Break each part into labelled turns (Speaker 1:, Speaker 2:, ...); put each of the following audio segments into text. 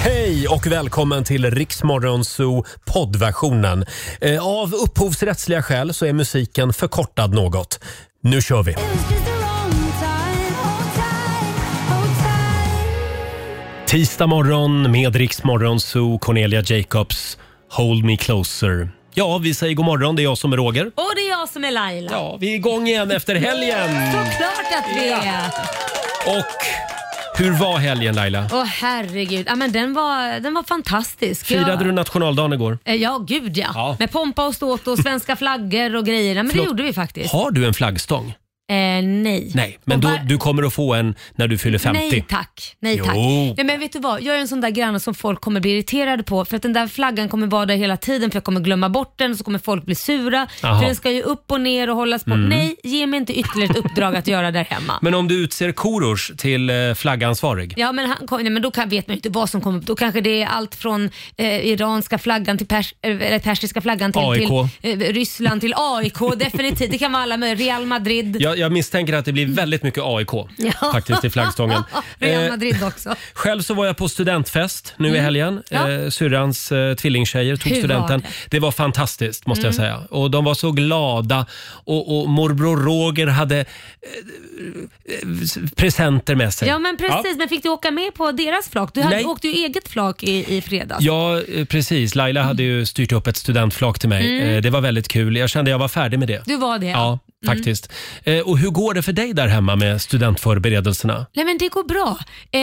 Speaker 1: Hej och välkommen till Riksmorgonzoo poddversionen. Eh, Av upphovsrättsliga skäl så är musiken förkortad något. Nu kör vi! Tisdag morgon med Riksmorgonzoo, Cornelia Jacobs, Hold Me Closer. Ja, vi säger god morgon. Det är jag som är Roger.
Speaker 2: Och det är jag som är Laila.
Speaker 1: Ja, vi är igång igen efter helgen.
Speaker 2: Såklart att vi är.
Speaker 1: Och hur var helgen Laila?
Speaker 2: Åh herregud, ja, men den, var, den var fantastisk.
Speaker 1: Firade du
Speaker 2: jag,
Speaker 1: nationaldagen igår?
Speaker 2: Eh, Ja, gud ja.
Speaker 1: Ja.
Speaker 2: Med pompa och ståt och svenska flaggor och grejer. Ja, Men
Speaker 1: Förlåt.
Speaker 2: det gjorde vi faktiskt.
Speaker 1: Har du en flaggstång?
Speaker 2: Eh, nej.
Speaker 1: Nej, men
Speaker 2: Och
Speaker 1: då,
Speaker 2: var-
Speaker 1: du kommer att få en när du fyller 50.
Speaker 2: Nej tack. Nej,
Speaker 1: Jo.
Speaker 2: tack. Nej, men vet du vad? Jag är en sån där granne som folk kommer bli irriterade på för att den där flaggan kommer vara där hela tiden för jag kommer glömma bort den och så kommer folk bli sura.
Speaker 1: Jaha. Mm.
Speaker 2: För den ska ju upp och ner och hållas på. Nej, ge mig inte ytterligare ett uppdrag att göra där hemma.
Speaker 1: Men om du utser Korosh till eh, flaggansvarig?
Speaker 2: Ja men, han kom, nej, men då kan, vet man ju inte vad som kommer upp. Då kanske det är allt från eh, iranska flaggan till pers, eh, eller persiska flaggan till,
Speaker 1: AIK.
Speaker 2: till eh, Ryssland till AIK. Definitivt. Det kan vara alla möjliga. Real Madrid.
Speaker 1: Jag, jag misstänker att det blir väldigt mycket AIK
Speaker 2: Ja.
Speaker 1: faktiskt i flaggstången.
Speaker 2: Real
Speaker 1: Eh,
Speaker 2: Madrid också.
Speaker 1: Själv så var jag på studentfest nu i helgen.
Speaker 2: Mm. Ja.
Speaker 1: Eh, syrrans eh, tvillingtjejer tog
Speaker 2: Hur
Speaker 1: studenten.
Speaker 2: var det? Mm.
Speaker 1: Det? var fantastiskt måste jag säga. Och de var så glada och, och morbror Roger hade eh, eh, presenter med sig.
Speaker 2: Ja men precis,
Speaker 1: Ja.
Speaker 2: men fick du åka med på deras flak? Du hade,
Speaker 1: Nej.
Speaker 2: åkte ju eget flak i, i fredags.
Speaker 1: Ja, eh, precis. Laila hade ju styrt upp ett studentflak till mig.
Speaker 2: Mm.
Speaker 1: Eh, Det var väldigt kul. Jag kände jag var färdig med det.
Speaker 2: Du var det?
Speaker 1: Ja, faktiskt. Eh, Och hur går det för dig där hemma med studentförberedelserna?
Speaker 2: Nej men det går bra. Eh,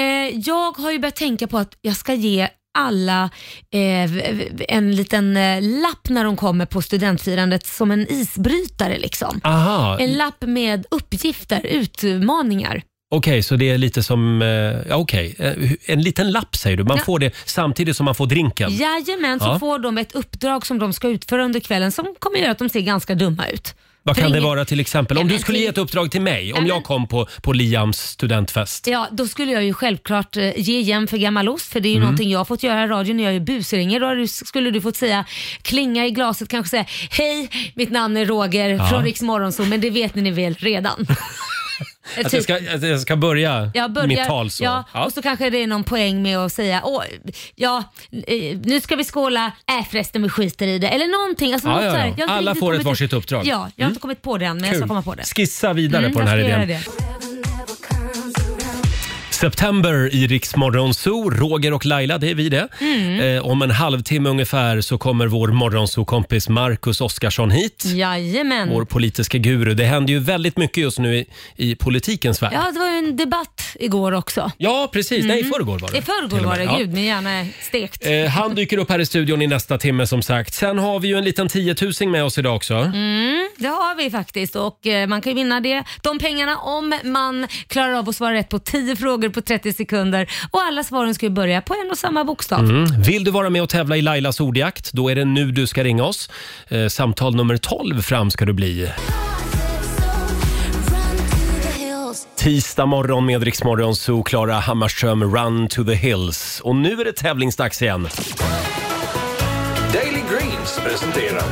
Speaker 2: jag har ju börjat tänka på att jag ska ge alla eh, v- v- en liten eh, lapp när de kommer på studentfirandet som en isbrytare liksom.
Speaker 1: Aha,
Speaker 2: En lapp med uppgifter, utmaningar.
Speaker 1: okej, så det är lite som... eh, Ja, okej. Eh, hu- En liten lapp säger du. Man
Speaker 2: Ja.
Speaker 1: får det samtidigt som man får drinken.
Speaker 2: Jajamän, så
Speaker 1: Ja.
Speaker 2: får de ett uppdrag som de ska utföra under kvällen som kommer göra att de ser ganska dumma ut.
Speaker 1: Vad
Speaker 2: För
Speaker 1: kan det
Speaker 2: ingen-
Speaker 1: vara till exempel? Om
Speaker 2: Ja,
Speaker 1: du
Speaker 2: men
Speaker 1: skulle
Speaker 2: till-
Speaker 1: ge ett uppdrag till mig, om
Speaker 2: men-
Speaker 1: jag kom på, på Liams studentfest.
Speaker 2: Ja, då skulle jag ju självklart eh, ge igen för gammal ost, för det är
Speaker 1: Mm.
Speaker 2: ju någonting jag har fått göra i radion när jag är busringer. Då har du- skulle du fått säga, klinga i glaset, kanske säga hej, mitt namn är Roger från Riks Morgonzoo, men det vet ni väl redan. Eh,
Speaker 1: Att jag ska, att jag ska börja
Speaker 2: jag börjar,
Speaker 1: mitt tal så.
Speaker 2: Ja,
Speaker 1: Ja.
Speaker 2: och så kanske det är någon poäng med att säga Åh, ja, eh, nu ska vi skåla, äh förresten vi skiter i det. Eller någonting. Alltså,
Speaker 1: Ja,
Speaker 2: något
Speaker 1: ja,
Speaker 2: så här.
Speaker 1: ja.
Speaker 2: Jag har inte
Speaker 1: Alla
Speaker 2: riktigt
Speaker 1: får ett
Speaker 2: kommit-
Speaker 1: varsitt uppdrag. Mm.
Speaker 2: Ja, jag har inte kommit på det än men jag ska
Speaker 1: Kul.
Speaker 2: komma på det. Mm,
Speaker 1: Skissa vidare på den här
Speaker 2: jag ska göra
Speaker 1: idén.
Speaker 2: det.
Speaker 1: September i Rix Morgon Zoo. Roger och Laila, det är vi det.
Speaker 2: Mm.
Speaker 1: Eh, om en halvtimme ungefär så kommer vår morgonzoo-kompis Marcus Oskarsson hit.
Speaker 2: Mm. Jajamän.
Speaker 1: Vår politiska guru. Det händer ju väldigt mycket just nu i, i politikens värld. Ja,
Speaker 2: Ja, det var ju en debatt igår också.
Speaker 1: precis. Nej, i förrgår var det.
Speaker 2: Mm. I
Speaker 1: Till
Speaker 2: förrgår
Speaker 1: och
Speaker 2: var
Speaker 1: med.
Speaker 2: det.
Speaker 1: Ja.
Speaker 2: Gud, min hjärna är stekt.
Speaker 1: Eh, han dyker upp här i studion i nästa timme som sagt. Sen har vi ju en liten tiotusing med oss idag också.
Speaker 2: Mm. Det har vi faktiskt och eh, man kan ju vinna det, de pengarna om man klarar av att svara rätt på 10 frågor på 30 sekunder. Och alla svaren ska ju börja på en och samma bokstav.
Speaker 1: Mm. Vill du vara med och tävla i Lailas ordjakt? Då är det nu du ska ringa oss. Eh, samtal nummer 12 fram ska du bli. Tisdag morgon med Rix Morgon Zoo, Klara Hammarström, Run to the Hills. Och nu är det tävlingsdags igen.
Speaker 3: Daily Greens presenterar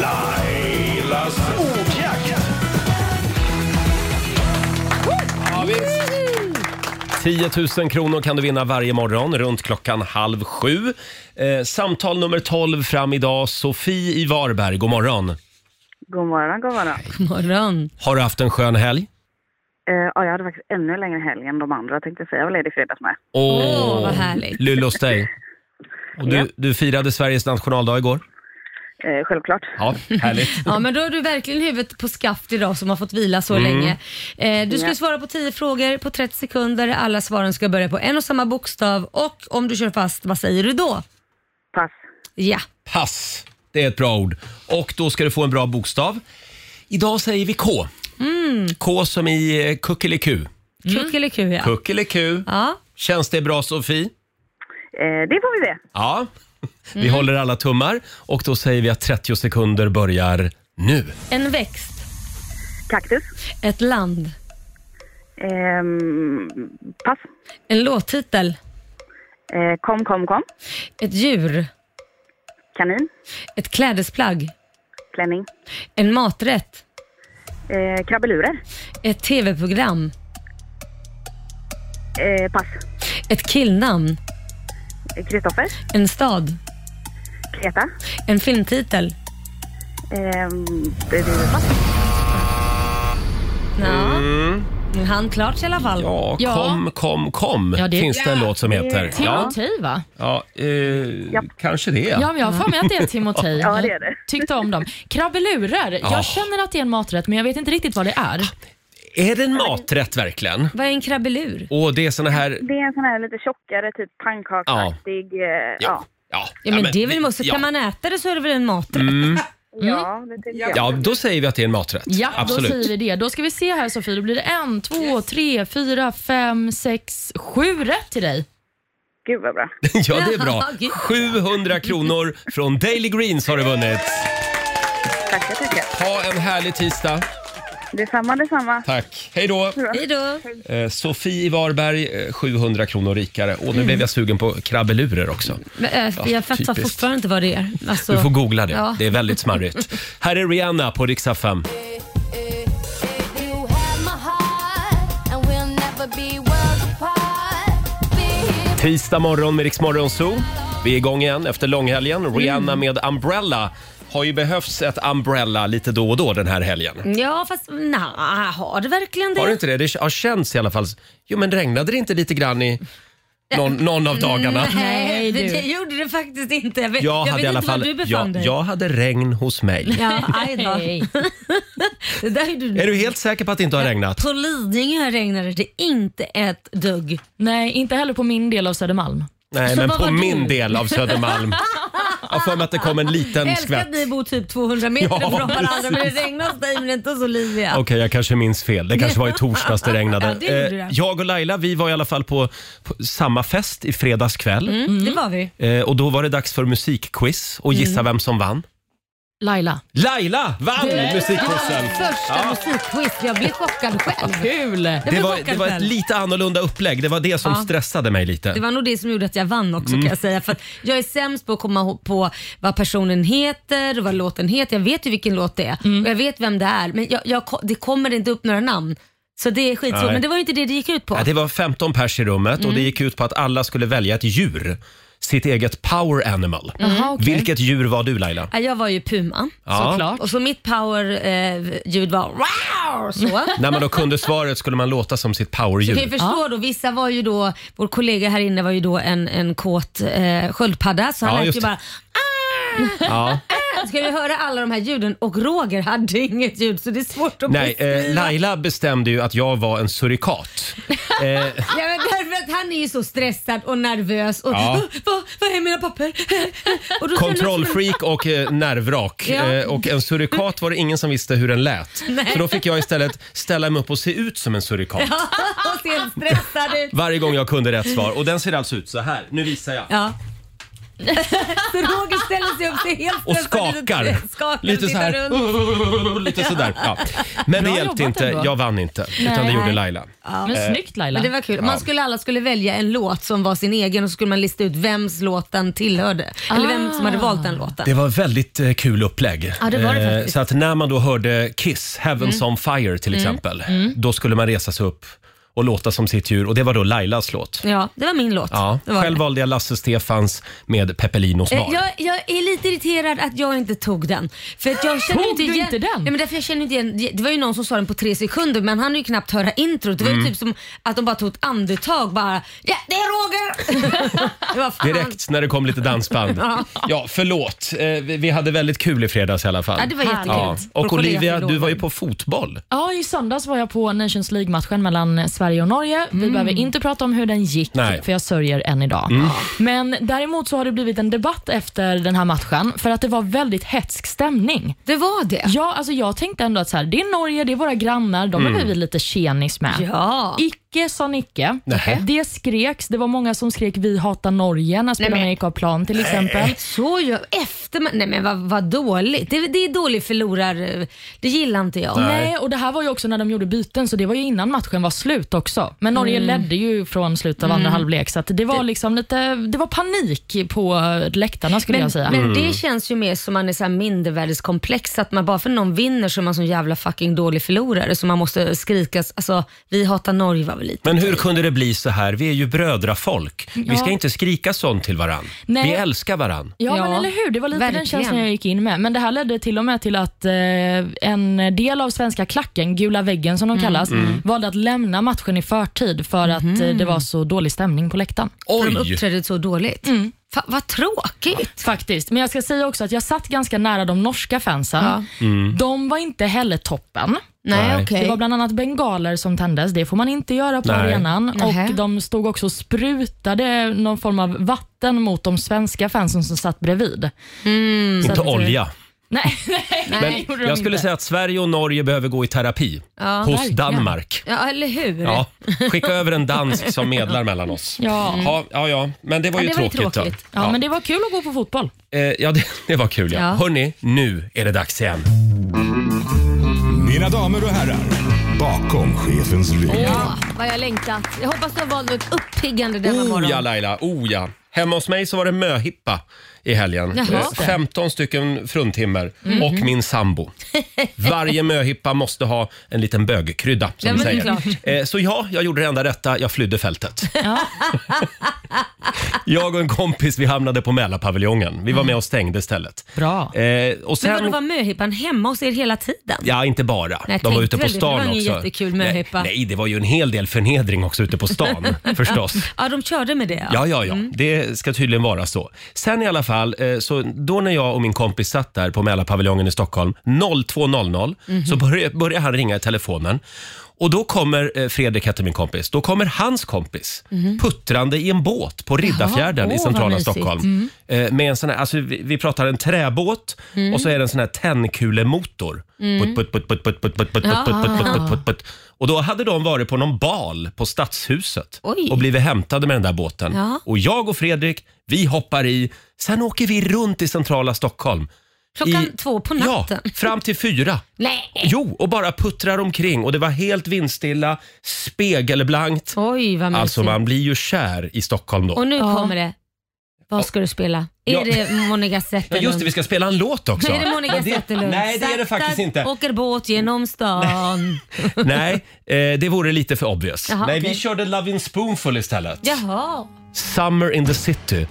Speaker 3: Lailas ordjakt.
Speaker 2: Woohoo!
Speaker 1: 10 000 kronor kan du vinna varje morgon runt klockan halv sju. Eh, samtal nummer 12 fram idag. Sofie i Varberg, god morgon.
Speaker 4: God morgon, god morgon.
Speaker 2: God morgon.
Speaker 1: Har du haft en skön helg?
Speaker 4: Eh, ja, jag hade faktiskt ännu längre helg än de andra tänkte jag säga. Jag var ledig fredags med.
Speaker 1: Åh,
Speaker 2: Åh, vad härligt.
Speaker 1: Lullos dig.
Speaker 4: Ja.
Speaker 1: Och du, du firade Sveriges nationaldag igår?
Speaker 4: Eh, självklart.
Speaker 1: Ja, härligt.
Speaker 2: Ja, men då har du verkligen huvudet på skaft idag som har fått vila
Speaker 1: Mm.
Speaker 2: så länge. Eh, du ska
Speaker 4: Ja.
Speaker 2: svara på 10 frågor på 30 sekunder. Alla svaren ska börja på en och samma bokstav och om du kör fast, vad säger du då?
Speaker 4: Pass.
Speaker 2: Ja.
Speaker 1: Pass, det är ett bra ord. Och då ska du få en bra bokstav. Idag säger vi K. K som i eh, kuckeliku. Mm.
Speaker 2: Kuck eller ku ja.
Speaker 1: Kuckeliku.
Speaker 2: ja.
Speaker 1: Känns det bra Sofie?
Speaker 4: Eh, det får vi se.
Speaker 1: Ja. Mm. Vi håller alla tummar och då säger vi att 30 sekunder börjar nu.
Speaker 2: En växt,
Speaker 4: Kaktus.
Speaker 2: ett land,
Speaker 4: Ehm, pass.
Speaker 2: en låttitel,
Speaker 4: Eh, kom, kom, kom.
Speaker 2: ett djur,
Speaker 4: Kanin.
Speaker 2: ett klädesplagg,
Speaker 4: Klänning.
Speaker 2: en maträtt,
Speaker 4: Eh, krabbelurer.
Speaker 2: ett tv-program,
Speaker 4: Eh, pass.
Speaker 2: ett killnamn,
Speaker 4: Kristoffer?
Speaker 2: En stad.
Speaker 4: Kreta?
Speaker 2: En filmtitel.
Speaker 4: Ehm, det är det pass.
Speaker 2: Ja. Nu hann klart i alla fall.
Speaker 1: Mm. Ja,
Speaker 5: Ja.
Speaker 1: kom, kom, kom
Speaker 5: Ja, det-
Speaker 1: finns det en låt som heter. Ja,
Speaker 5: Timotej va?
Speaker 1: ja eh, kanske det.
Speaker 5: Ja, men jag har för mig att det är Timotej.
Speaker 4: Ja, det är det.
Speaker 5: Tyckte om dem. Krabbelurar.
Speaker 1: Ja.
Speaker 5: Jag känner att det är en maträtt, men jag vet inte riktigt vad det är.
Speaker 1: Är det en maträtt verkligen?
Speaker 2: Vad är en krabbelur?
Speaker 1: Och det är såna här...
Speaker 4: Det är en sån här lite tjockare, typ pannkaksaktig. eh, Ja.
Speaker 1: Ja.
Speaker 4: Ja.
Speaker 1: Ja,
Speaker 2: Ja, men det är väl måste,
Speaker 1: ja. Mm.
Speaker 2: Kan man äta det så är det väl en maträtt?
Speaker 4: ja, det tycker jag.
Speaker 1: Ja, då säger vi att det är en maträtt.
Speaker 5: Ja,
Speaker 1: Absolut.
Speaker 5: då säger vi det. Då ska vi se här Sofie, då blir det en, två, tre, fyra, fem, sex, sju rätt till dig.
Speaker 4: Gud vad bra.
Speaker 1: Ja, det är bra.
Speaker 2: Ja, gud.
Speaker 1: 700 kronor från Daily Greens har du vunnit.
Speaker 4: Tackar, tackar.
Speaker 1: Ha en härlig tisdag.
Speaker 4: Detsamma, detsamma.
Speaker 1: Tack. Hej då.
Speaker 2: Hej då.
Speaker 1: Eh, Sofie i Varberg, eh, 700 kronor rikare. Och nu blev jag sugen på krabbelurer också.
Speaker 2: Men, eh, jag fattar
Speaker 1: typiskt.
Speaker 2: fortfarande inte vad det är. Alltså,
Speaker 1: Du får googla det.
Speaker 2: Ja.
Speaker 1: Det är väldigt smarrigt. Här är Rihanna på Riksa 5.
Speaker 6: You have my heart, and we'll never be worlds apart. Be here
Speaker 1: Tisdag morgon med Rix Morgon Zoo. Vi är igång igen efter långhelgen. Rihanna
Speaker 2: Mm.
Speaker 1: med Umbrella. Har ju behövts ett umbrella lite då och då den här helgen.
Speaker 2: Ja, fast nej, har det verkligen det?
Speaker 1: Har det inte det? Det har känts i alla fall. Jo, men regnade det inte lite grann i någon, någon av dagarna?
Speaker 2: Eh, Nej,
Speaker 5: Nej,
Speaker 2: det,
Speaker 5: du.
Speaker 2: det gjorde det faktiskt inte. Jag vet,
Speaker 1: Jag
Speaker 2: jag
Speaker 1: hade
Speaker 2: vet
Speaker 1: i alla
Speaker 2: inte
Speaker 1: fall,
Speaker 2: var du befann
Speaker 1: jag,
Speaker 2: dig.
Speaker 1: jag hade regn hos mig.
Speaker 2: Ja, aj då.
Speaker 5: Hej.
Speaker 2: Det där är du.
Speaker 1: Är du helt säker på att det inte har regnat?
Speaker 2: På Lidingö regnade det inte ett dugg.
Speaker 5: Nej, inte heller på min del av Södermalm.
Speaker 1: Nej,
Speaker 2: Så
Speaker 1: men
Speaker 2: vad
Speaker 1: på
Speaker 2: var
Speaker 1: min
Speaker 2: du?
Speaker 1: del av Södermalm. Jag har för mig att det kom en liten
Speaker 2: Jag älskar
Speaker 1: skvätt.
Speaker 2: att ni bor typ 200 meter
Speaker 1: Ja,
Speaker 2: från varandra men
Speaker 1: precis.
Speaker 2: det regnar hos dig men inte hos Olivia.
Speaker 1: Okej, jag kanske minns fel. Det kanske var i torsdags det regnade.
Speaker 2: Ja, det gjorde
Speaker 1: Eh,
Speaker 2: det.
Speaker 1: jag och Laila vi var i alla fall på, på samma fest i fredags kväll.
Speaker 2: Mm, det var vi.
Speaker 1: Eh, och då var det dags för musikquiz och
Speaker 2: Mm.
Speaker 1: gissa vem som vann.
Speaker 5: Laila.
Speaker 1: Laila vann musikquizen!
Speaker 2: Första musikquiz, jag blev chockad själv.
Speaker 5: Kul!
Speaker 2: Jag
Speaker 1: Det
Speaker 2: blev
Speaker 1: var,
Speaker 2: chockad
Speaker 1: det var ett
Speaker 2: själv.
Speaker 1: lite annorlunda upplägg. Det var det som
Speaker 2: Ja.
Speaker 1: stressade mig lite.
Speaker 2: Det var nog det som gjorde att jag vann också
Speaker 1: Mm.
Speaker 2: kan jag säga. För att jag är sämst på att komma ihåg på vad personen heter och vad låten heter. Jag vet ju vilken låt det är
Speaker 1: Mm.
Speaker 2: och jag vet vem det är. Men jag, jag, det kommer inte upp några namn. Så det är skitsvårt.
Speaker 1: Nej.
Speaker 2: Men det var ju inte det det gick ut på.
Speaker 1: Ja, Det var 15 pers i rummet och
Speaker 2: Mm.
Speaker 1: det gick ut på att alla skulle välja ett djur. Sitt eget power animal.
Speaker 2: Mm.
Speaker 5: Jaha, okej.
Speaker 1: Vilket djur var du Laila?
Speaker 2: Ja, Jag var ju puma.
Speaker 1: Ja.
Speaker 5: Såklart.
Speaker 2: Och så mitt power-ljud var wow, så.
Speaker 1: När man då kunde svaret skulle man låta som sitt powerdjur.
Speaker 2: Du kan ju förstå då, vissa var ju då, vår kollega här inne var ju då en, en kåt eh, sköldpadda så han
Speaker 1: Ja,
Speaker 2: lät
Speaker 1: just
Speaker 2: ju
Speaker 1: det.
Speaker 2: bara "Ah,
Speaker 1: Ja.
Speaker 2: ah." Ska du höra alla de här ljuden? Och Roger hade inget ljud så det är svårt att
Speaker 1: Nej,
Speaker 2: beskriva.
Speaker 1: eh, Laila bestämde ju att jag var en surikat. Eh,
Speaker 2: Ja, men därför att han är ju så stressad och nervös och
Speaker 1: Ja.
Speaker 2: "Åh, vad, vad är mina papper? och då
Speaker 1: kontrollfreak och eh, nervrak.
Speaker 2: Ja.
Speaker 1: Eh, och en surikat var det ingen som visste hur den lät. Så då fick jag istället ställa mig upp och se ut som en surikat.
Speaker 2: och ser stressad ut.
Speaker 1: Varje gång jag kunde rätt svar. Och den ser alltså ut så här. Nu visar jag.
Speaker 2: Ja. så Roger ställer sig upp, ser helt
Speaker 1: Och
Speaker 2: stressad ut,
Speaker 1: skakar.
Speaker 2: skakar
Speaker 1: Lite
Speaker 2: och
Speaker 1: så
Speaker 2: tittar
Speaker 1: här.
Speaker 2: runt.
Speaker 1: Lite sådär. Ja. Men det
Speaker 5: Bra
Speaker 1: hjälpte
Speaker 5: jobbat
Speaker 1: inte.
Speaker 5: ändå.
Speaker 1: Jag vann inte. Utan det
Speaker 5: Nej.
Speaker 1: gjorde Laila.
Speaker 5: Men snyggt Laila.
Speaker 2: Men det var kul. Man skulle, alla skulle välja en låt som var sin egen och så skulle man lista ut vems låt den tillhörde. Eller vem som hade
Speaker 1: Ah.
Speaker 2: valt den låten.
Speaker 1: Det var väldigt eh, kul upplägg.
Speaker 5: Ja, det var det
Speaker 1: Eh,
Speaker 5: faktiskt.
Speaker 1: Så att när man då hörde Kiss,
Speaker 2: Mm.
Speaker 1: Heavens on Fire till exempel, då skulle man resa sig upp och låta som sitt djur och det var då Lailas låt.
Speaker 2: Ja, det var min låt.
Speaker 1: Ja,
Speaker 2: det var
Speaker 1: själv
Speaker 2: det.
Speaker 1: valde jag Lasse Stefans med Peppelinos
Speaker 2: Eh,
Speaker 1: barn.
Speaker 2: Jag, jag är lite irriterad att jag inte tog den. För att jag känner
Speaker 5: Tog
Speaker 2: inte
Speaker 5: du
Speaker 2: igen,
Speaker 5: inte den?
Speaker 2: Nej, men därför jag känner inte igen, det var ju någon som sa den på tre sekunder men han har ju knappt höra introt. Det var
Speaker 1: Mm.
Speaker 2: ju typ som att de bara tog ett andetag bara. Ja, det är Roger! det var fan.
Speaker 1: Direkt när det kom lite dansband.
Speaker 2: Ja.
Speaker 1: Ja, förlåt. Eh, vi- Vi hade väldigt kul i fredags i alla fall.
Speaker 2: Ja, det var
Speaker 5: Härligt.
Speaker 1: Ja.
Speaker 2: jättekult. Vår
Speaker 1: Och
Speaker 2: kollega
Speaker 1: Olivia,
Speaker 2: förlorade.
Speaker 1: du var ju på fotboll.
Speaker 5: Ja, i söndags var jag på Nations League-matchen mellan Sverige och Norge. Vi behöver inte prata om hur den gick,
Speaker 1: Mm. Nej. Mm.
Speaker 5: för jag sörjer än idag. Men däremot så har det blivit en debatt efter den här matchen, för att det var väldigt hetsk stämning.
Speaker 2: Det var det.
Speaker 5: Ja, alltså jag tänkte ändå att så här, det är Norge, det är våra grannar, de
Speaker 1: Mm.
Speaker 5: är vi lite tjenis med.
Speaker 2: Ja.
Speaker 5: Icke sa Nicke.
Speaker 1: Nähä.
Speaker 5: Det skreks, det var många som skrek vi hatar Norge när spelarna gick av plan till exempel.
Speaker 2: Så gör efter man, Nej men vad, vad dåligt. Det, det är dålig förlorar... Det gillar inte jag.
Speaker 1: Nej.
Speaker 5: Nej, och det här var ju också när de gjorde byten, så det var ju innan matchen var slut också. Men Norge ledde ju från slutet av andra halvlek, så att det var liksom lite, det var panik på eh, läktarna skulle jag säga.
Speaker 2: Men
Speaker 1: Mm.
Speaker 2: det känns ju mer som man är så här mindervärdeskomplex. Att man bara för någon vinner så är man som jävla fucking dålig förlorare. Så man måste skrika, alltså vi hatar Norge. va? väl lite
Speaker 1: Men hur kunde det bli så här? Vi är ju brödrafolk. Vi ska
Speaker 5: Ja.
Speaker 1: inte skrika sånt till varann.
Speaker 5: Nej. Mm.
Speaker 1: Vi älskar varann.
Speaker 5: Ja,
Speaker 2: Ja,
Speaker 5: men eller hur. Det var lite
Speaker 2: verkligen.
Speaker 5: den känslan jag gick in med. Men det här ledde till och med till att eh, en del av svenska klacken, Gula väggen som de kallas, valde att lämna matchen i förtid för att eh, det var så dålig stämning på läktaren.
Speaker 2: de
Speaker 1: Oj!
Speaker 2: uppträdde så dåligt. Fa- vad tråkigt.
Speaker 5: Faktiskt. Men jag ska säga också att jag satt ganska nära de norska fansen. De var inte heller toppen.
Speaker 1: Nej.
Speaker 2: Nej, okej.
Speaker 5: Det var bland annat bengaler som tändes. Det får man inte göra på
Speaker 1: Nej.
Speaker 5: arenan.
Speaker 2: Nähä.
Speaker 5: Och de stod också och sprutade någon form av vatten mot de svenska fansen som satt bredvid. Så
Speaker 1: Inte
Speaker 5: att, eh,
Speaker 1: olja.
Speaker 5: Nej, nej,
Speaker 1: Men
Speaker 5: gjorde de
Speaker 1: jag skulle
Speaker 5: inte.
Speaker 1: säga att Sverige och Norge behöver gå i terapi
Speaker 2: Ja,
Speaker 1: hos
Speaker 5: verkligen.
Speaker 1: Danmark.
Speaker 2: Ja, eller hur?
Speaker 1: Ja, skicka över en dansk som medlar mellan oss.
Speaker 5: Ja.
Speaker 1: Ja, ja, ja. men det var ju
Speaker 2: Ja, det var ju
Speaker 1: tråkigt. då.
Speaker 2: tråkigt.
Speaker 5: Ja, men det var kul att gå på fotboll.
Speaker 1: Eh, ja det, det var kul. Ja.
Speaker 2: Ja.
Speaker 1: Hörni, nu är det dags igen.
Speaker 7: Mina damer och herrar, bakom chefens rygg.
Speaker 2: Ja, vad jag längtat. Jag hoppas du har valt något uppiggande denna
Speaker 1: Oh
Speaker 2: morgon.
Speaker 1: ja, Laila. Oh ja. Hemma hos mig så var det möhippa i helgen.
Speaker 2: Jaha. Mhm.
Speaker 1: Eh, 15 stycken fruntimmer och min sambo. Varje möhippa måste ha en liten bögkrydda, som
Speaker 2: Ja,
Speaker 1: vi
Speaker 2: men det är
Speaker 1: säger. Eh, så ja, jag gjorde det enda rätta. Jag flydde fältet. jag och en kompis vi hamnade på Mälarpaviljongen. Vi var med och stängde stället.
Speaker 5: Bra.
Speaker 1: Eh, och
Speaker 2: Mm. Men
Speaker 1: sen...
Speaker 2: vadå, var möhippan hemma hos er hela tiden?
Speaker 1: Ja, inte bara.
Speaker 2: jag
Speaker 1: de var
Speaker 2: tänkte
Speaker 1: ute på
Speaker 2: väl det. Det
Speaker 1: stan
Speaker 2: var ingen
Speaker 1: också.
Speaker 2: jättekul möhippa.
Speaker 1: Nej, nej, det var ju en hel del förnedring också ute på stan förstås.
Speaker 2: Ja, de körde med det.
Speaker 1: Ja, ja, ja.
Speaker 2: Mm.
Speaker 1: Det ska tydligen vara så. Sen i alla fall, eh, så då när jag och min kompis satt där på Mälarpaviljongen i Stockholm 02.00
Speaker 2: Mhm.
Speaker 1: så började, började han ringa i telefonen. Och då kommer eh, Fredrik hette min kompis, då kommer hans kompis puttrande i en båt på Riddarfjärden
Speaker 2: Mhm. Jaha.
Speaker 1: i
Speaker 2: Åh, vad
Speaker 1: centrala
Speaker 2: mysigt. Mm.
Speaker 1: Stockholm. Eh, Med en sån här, alltså vi, vi pratar en träbåt
Speaker 2: Mm.
Speaker 1: och så är det en sån här tändkulemotor. Putt, putt, putt, putt, putt, putt, putt, putt, putt, putt, putt, putt, putt, putt. Och då hade de varit på någon bal på Stadshuset
Speaker 2: Oj.
Speaker 1: och blivit hämtade med den där båten.
Speaker 2: Ja.
Speaker 1: Och jag och Fredrik, vi hoppar i. Sen åker vi runt i centrala Stockholm.
Speaker 2: Klockan
Speaker 1: I-
Speaker 2: två på natten.
Speaker 1: Ja, fram till fyra.
Speaker 2: Nej!
Speaker 1: Jo, och bara puttrar omkring och det var helt vindstilla, spegelblankt.
Speaker 2: Oj, vad mysigt.
Speaker 1: Alltså man blir ju kär i Stockholm då.
Speaker 2: Och nu
Speaker 5: Ja.
Speaker 2: kommer det. Vad ska du spela? Är
Speaker 1: Ja.
Speaker 2: det Monica
Speaker 1: Ja,
Speaker 2: Zetterlund?
Speaker 1: just det, vi ska spela en låt också.
Speaker 2: Är det Monica
Speaker 1: Men det-
Speaker 2: Zetterlund?
Speaker 1: Nej, det är det
Speaker 2: Sakta
Speaker 1: faktiskt inte.
Speaker 2: åker båt genom stan.
Speaker 1: Nej, eh, det vore lite för obvious.
Speaker 2: Jaha,
Speaker 1: Nej, vi
Speaker 2: okej.
Speaker 1: körde Lovin' Spoonful istället.
Speaker 2: Jaha.
Speaker 1: Summer in the city.